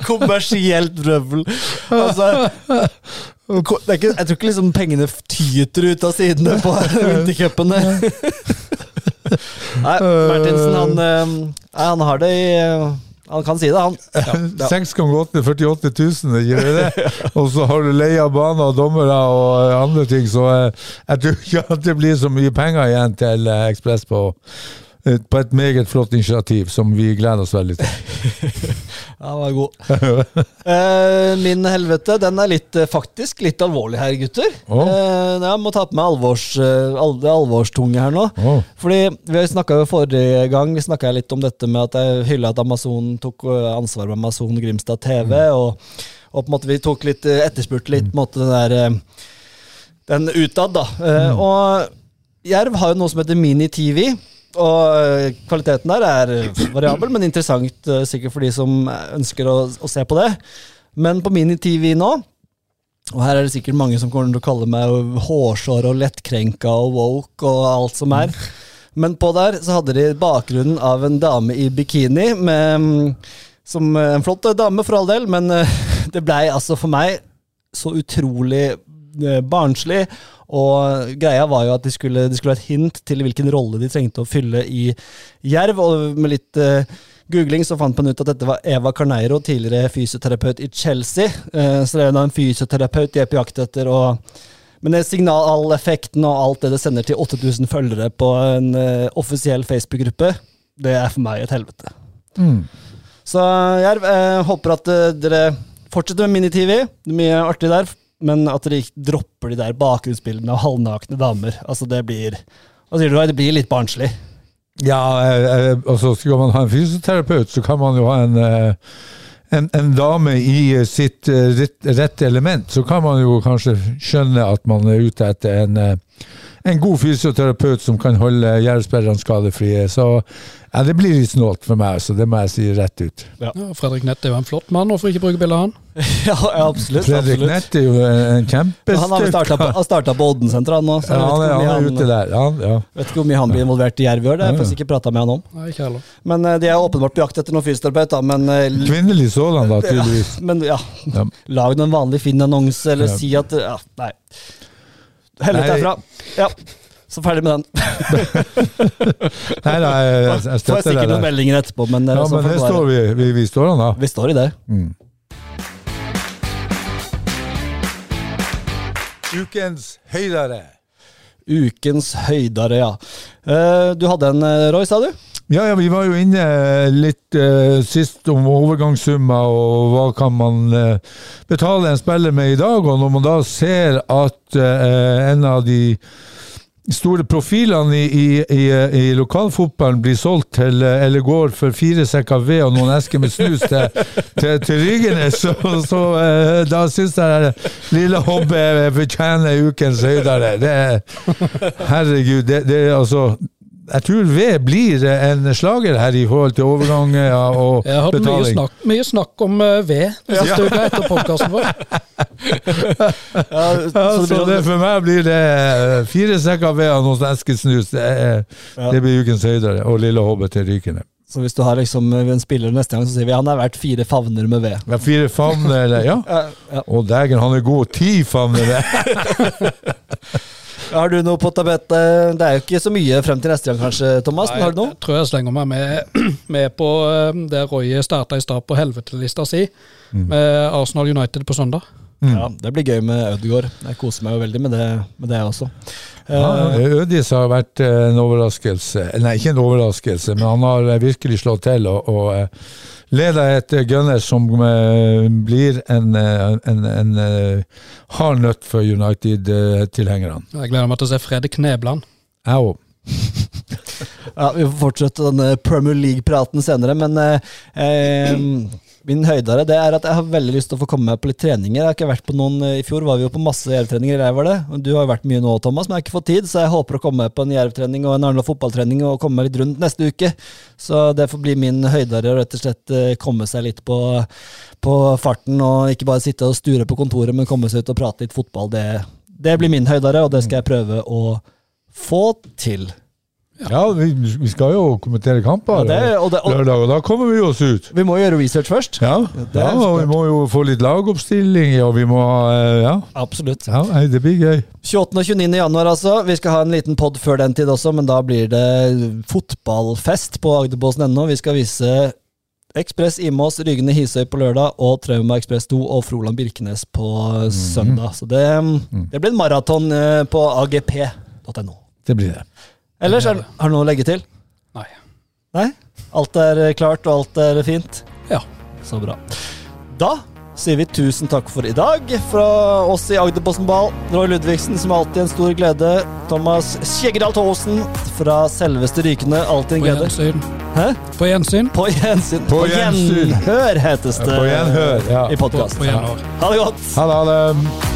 S5: Kommersielt røvel. Altså, ko- det er ikke, jeg tror ikke liksom pengene f- tyter ut av sidene på vintercupene. Nei, Martinsen han, eh, nei, han har det i eh, Han kan si det, han.
S3: 6 ganger 8 er 48 000, det gir det det? Og så har du leie av baner og dommere og eh, andre ting, så eh, jeg tror ikke at det blir så mye penger igjen til eh, Ekspress på, eh, på et meget flott initiativ som vi gleder oss veldig til.
S5: Ja, Han var god. Eh, min helvete, den er litt, eh, faktisk litt alvorlig her, gutter.
S3: Å.
S5: Eh, jeg må ta på meg alvors, eh, al- det alvorstunge her nå.
S3: Å.
S5: Fordi Vi snakka jo forrige gang vi snakket litt om dette med at jeg hylla at Amazon tok eh, ansvar med Amazon Grimstad TV. Og, og på en måte vi tok litt eh, etterspurte litt på en måte den der eh, den utad, da. Eh, Og Jerv har jo noe som heter Mini-TV. Og eh, kvaliteten der er eh, variabel, men interessant eh, sikkert for de som eh, ønsker å, å se på det. Men på Mini-TV nå og her er det sikkert mange som kommer til å kalle meg hårsår og lettkrenka og woke og alt som er. Men på der så hadde de bakgrunnen av en dame i bikini med, mm, som eh, en flott dame for all del, men eh, det blei altså for meg så utrolig eh, barnslig. Og greia var jo at det skulle, det skulle være et hint til hvilken rolle de trengte å fylle i Jerv. Og med litt eh, googling så fant man ut at dette var Eva Carneiro, tidligere fysioterapeut i Chelsea. Eh, så det er jo da en fysioterapeut de er på jakt etter. og men det signaleffekten og alt det det sender til 8000 følgere på en eh, offisiell Facebook-gruppe, det er for meg et helvete. Så Jerv, eh, håper at eh, dere fortsetter med mini-TV. Det er Mye artig der. Men at dere ikke dropper de der bakgrunnsbildene av halvnakne damer. Altså, det blir Hva sier du, Roy? Det blir litt barnslig.
S3: Ja, eh, eh, og så skal man ha en fysioterapeut, så kan man jo ha en, eh, en, en dame i eh, sitt eh, rett- rette element. Så kan man jo kanskje skjønne at man er ute etter en, eh, en god fysioterapeut som kan holde gjerdespillerne skadefrie. Så ja, det blir litt snålt for meg, så det må jeg si rett ut.
S6: Ja, Fredrik Nett er jo en flott mann, hvorfor ikke bruke bilde av han?
S5: ja, ja, absolutt.
S3: Fredrik
S5: absolutt.
S3: Nett er jo en, en
S5: Men han har vel starta på,
S3: kjempestyrke.
S5: har startet på Odden-senteret, han nå. Så
S3: Ja,
S5: jeg
S3: han,
S5: vet ikke hvor mye
S3: er- han er
S5: han,
S3: ute der. Han, ja.
S5: vet ikke hvor mye han blir involvert i Jerv i år. Det har jeg faktisk ikke prata med han om.
S6: Nei, ikke heller.
S5: Men eh, de er åpenbart på jakt etter noen fysioterapeut, da. Men, eh, l-
S3: Kvinnelig sådan, da,
S5: ja,
S3: tydeligvis.
S5: men ja,
S3: Ja.
S5: lag noen vanlig Finn-annonse, eller
S3: Ja.
S5: si at eh, ja, Nei. Helvete
S3: Nei.
S5: herfra. Ja, så ferdig med den.
S3: Nei, nei, jeg, jeg, jeg
S5: Får jeg
S3: støtter
S5: sikkert
S3: deg
S5: noen
S3: der.
S5: meldinger etterpå, men, eh,
S3: Ja,
S5: så
S3: men
S5: får
S3: det
S5: det være.
S3: står vi, vi, vi står han da.
S5: Vi står i det.
S3: Ukens høydere.
S5: Ukens høydare, ja. Eh, Du hadde en, eh, Roy, sa du?
S3: Ja, ja, vi var jo inne litt eh, sist om overgangssummer og hva kan man eh, betale en spiller med i dag. Og når man da ser at eh, en av de store profilene i, i, i, eh, i lokalfotballen blir solgt til, eh, eller går for fire sekker ved og noen esker med snus til, til, til Rygenes, så, så eh, da syns jeg lille eh, hobbet fortjener ukens høydere. Det, herregud, det, det er altså jeg tror ved blir en slager her i forhold til overganger og
S6: Jeg har hatt mye
S3: betaling.
S6: snakk, mye snakk om eh, ved den siste uka etter podkasten vår.
S5: Ja,
S3: Ja,
S5: så det blir
S3: så det,
S5: sånn-
S3: for meg blir det eh, fire sekker ved hos Eskil Snus. Det, er-
S5: Ja.
S3: det blir ukens høydere. Og Lille Hobbit til Rykene.
S5: Så hvis du har liksom en spiller neste gang, så sier vi han er verdt fire favner med ved.
S3: Ja, fire favner, ja. Og dægen, han er god. Ti favner!
S5: Har du noe på tabettet? Det er jo ikke så mye frem til neste gang, kanskje, Thomas. Men har du noe?
S6: Jeg tror jeg slenger meg med, med på eh, det Roy starta i stad, på helvetelista si, med Arsenal United på søndag.
S3: Mm.
S5: Ja, det blir gøy med Ødegaard. Jeg koser meg jo veldig med det, med det også. Eh,
S3: Ja, Ødis har vært eh, en overraskelse. Nei, ikke en overraskelse, men han har eh, virkelig slått til og, og eh, leda et eh, Gunners som eh, blir en, eh, en, en eh, hard nøtt for United-tilhengerne.
S6: Jeg gleder meg til å se Fredrik Knebland.
S3: Jeg òg.
S5: Ja, Vi får fortsette denne Premier League-praten senere, men eh, eh, min høydare det er at jeg har veldig lyst til å få komme meg på litt treninger. Jeg har ikke vært på noen eh, I fjor var vi jo på masse jervtreninger, jeg var det. Og Du har jo vært mye nå, Thomas, men jeg har ikke fått tid, så jeg håper å komme meg på en jervtrening og en annen fotballtrening og komme meg litt rundt neste uke. Så det får bli min høydare å rett og slett eh, komme seg litt på, på farten og ikke bare sitte og sture på kontoret, men komme seg ut og prate litt fotball. Det, det blir min høydare, og det skal jeg prøve å få til.
S3: Ja, vi, vi skal jo kommentere kamper
S5: Ja, det- og det- og-
S3: lørdag, og da kommer vi oss ut.
S5: Vi må jo gjøre research først.
S3: Ja,
S5: det er
S3: ja, og vi må jo få litt lagoppstilling, og vi må eh, Ja,
S5: Absolutt.
S3: ja nei, det blir gøy.
S5: 28. og 29. januar, altså. Vi skal ha en liten pod før den tid også, men da blir det fotballfest på Agderposten.no. Vi skal vise Ekspress Imås, Rygne Hisøy på lørdag og Trauma Ekspress 2 og Froland Birkenes på søndag. Så det, mm, det blir en maraton eh, på agp.no.
S3: Det blir det.
S5: Ellers, er, har du noe å legge til?
S6: Nei.
S5: Nei? Alt er eh, klart, og alt er fint?
S6: Ja.
S5: Så bra. Da sier vi tusen takk for i dag fra oss i Agderposten Ball. Roy Ludvigsen, som alltid en stor glede. Thomas Skjeggedal Thaasen fra selveste Rykene, alltid en
S6: På
S5: glede.
S6: gjensyn.
S5: Hæ?
S6: På gjensyn.
S5: På gjensyn.
S3: På gjensyn.
S5: gjenhør hetes det
S3: På gjenhør, ja.
S5: i podkast.
S6: På gjenhør.
S5: Ha det godt.
S3: Ha det. Ha det.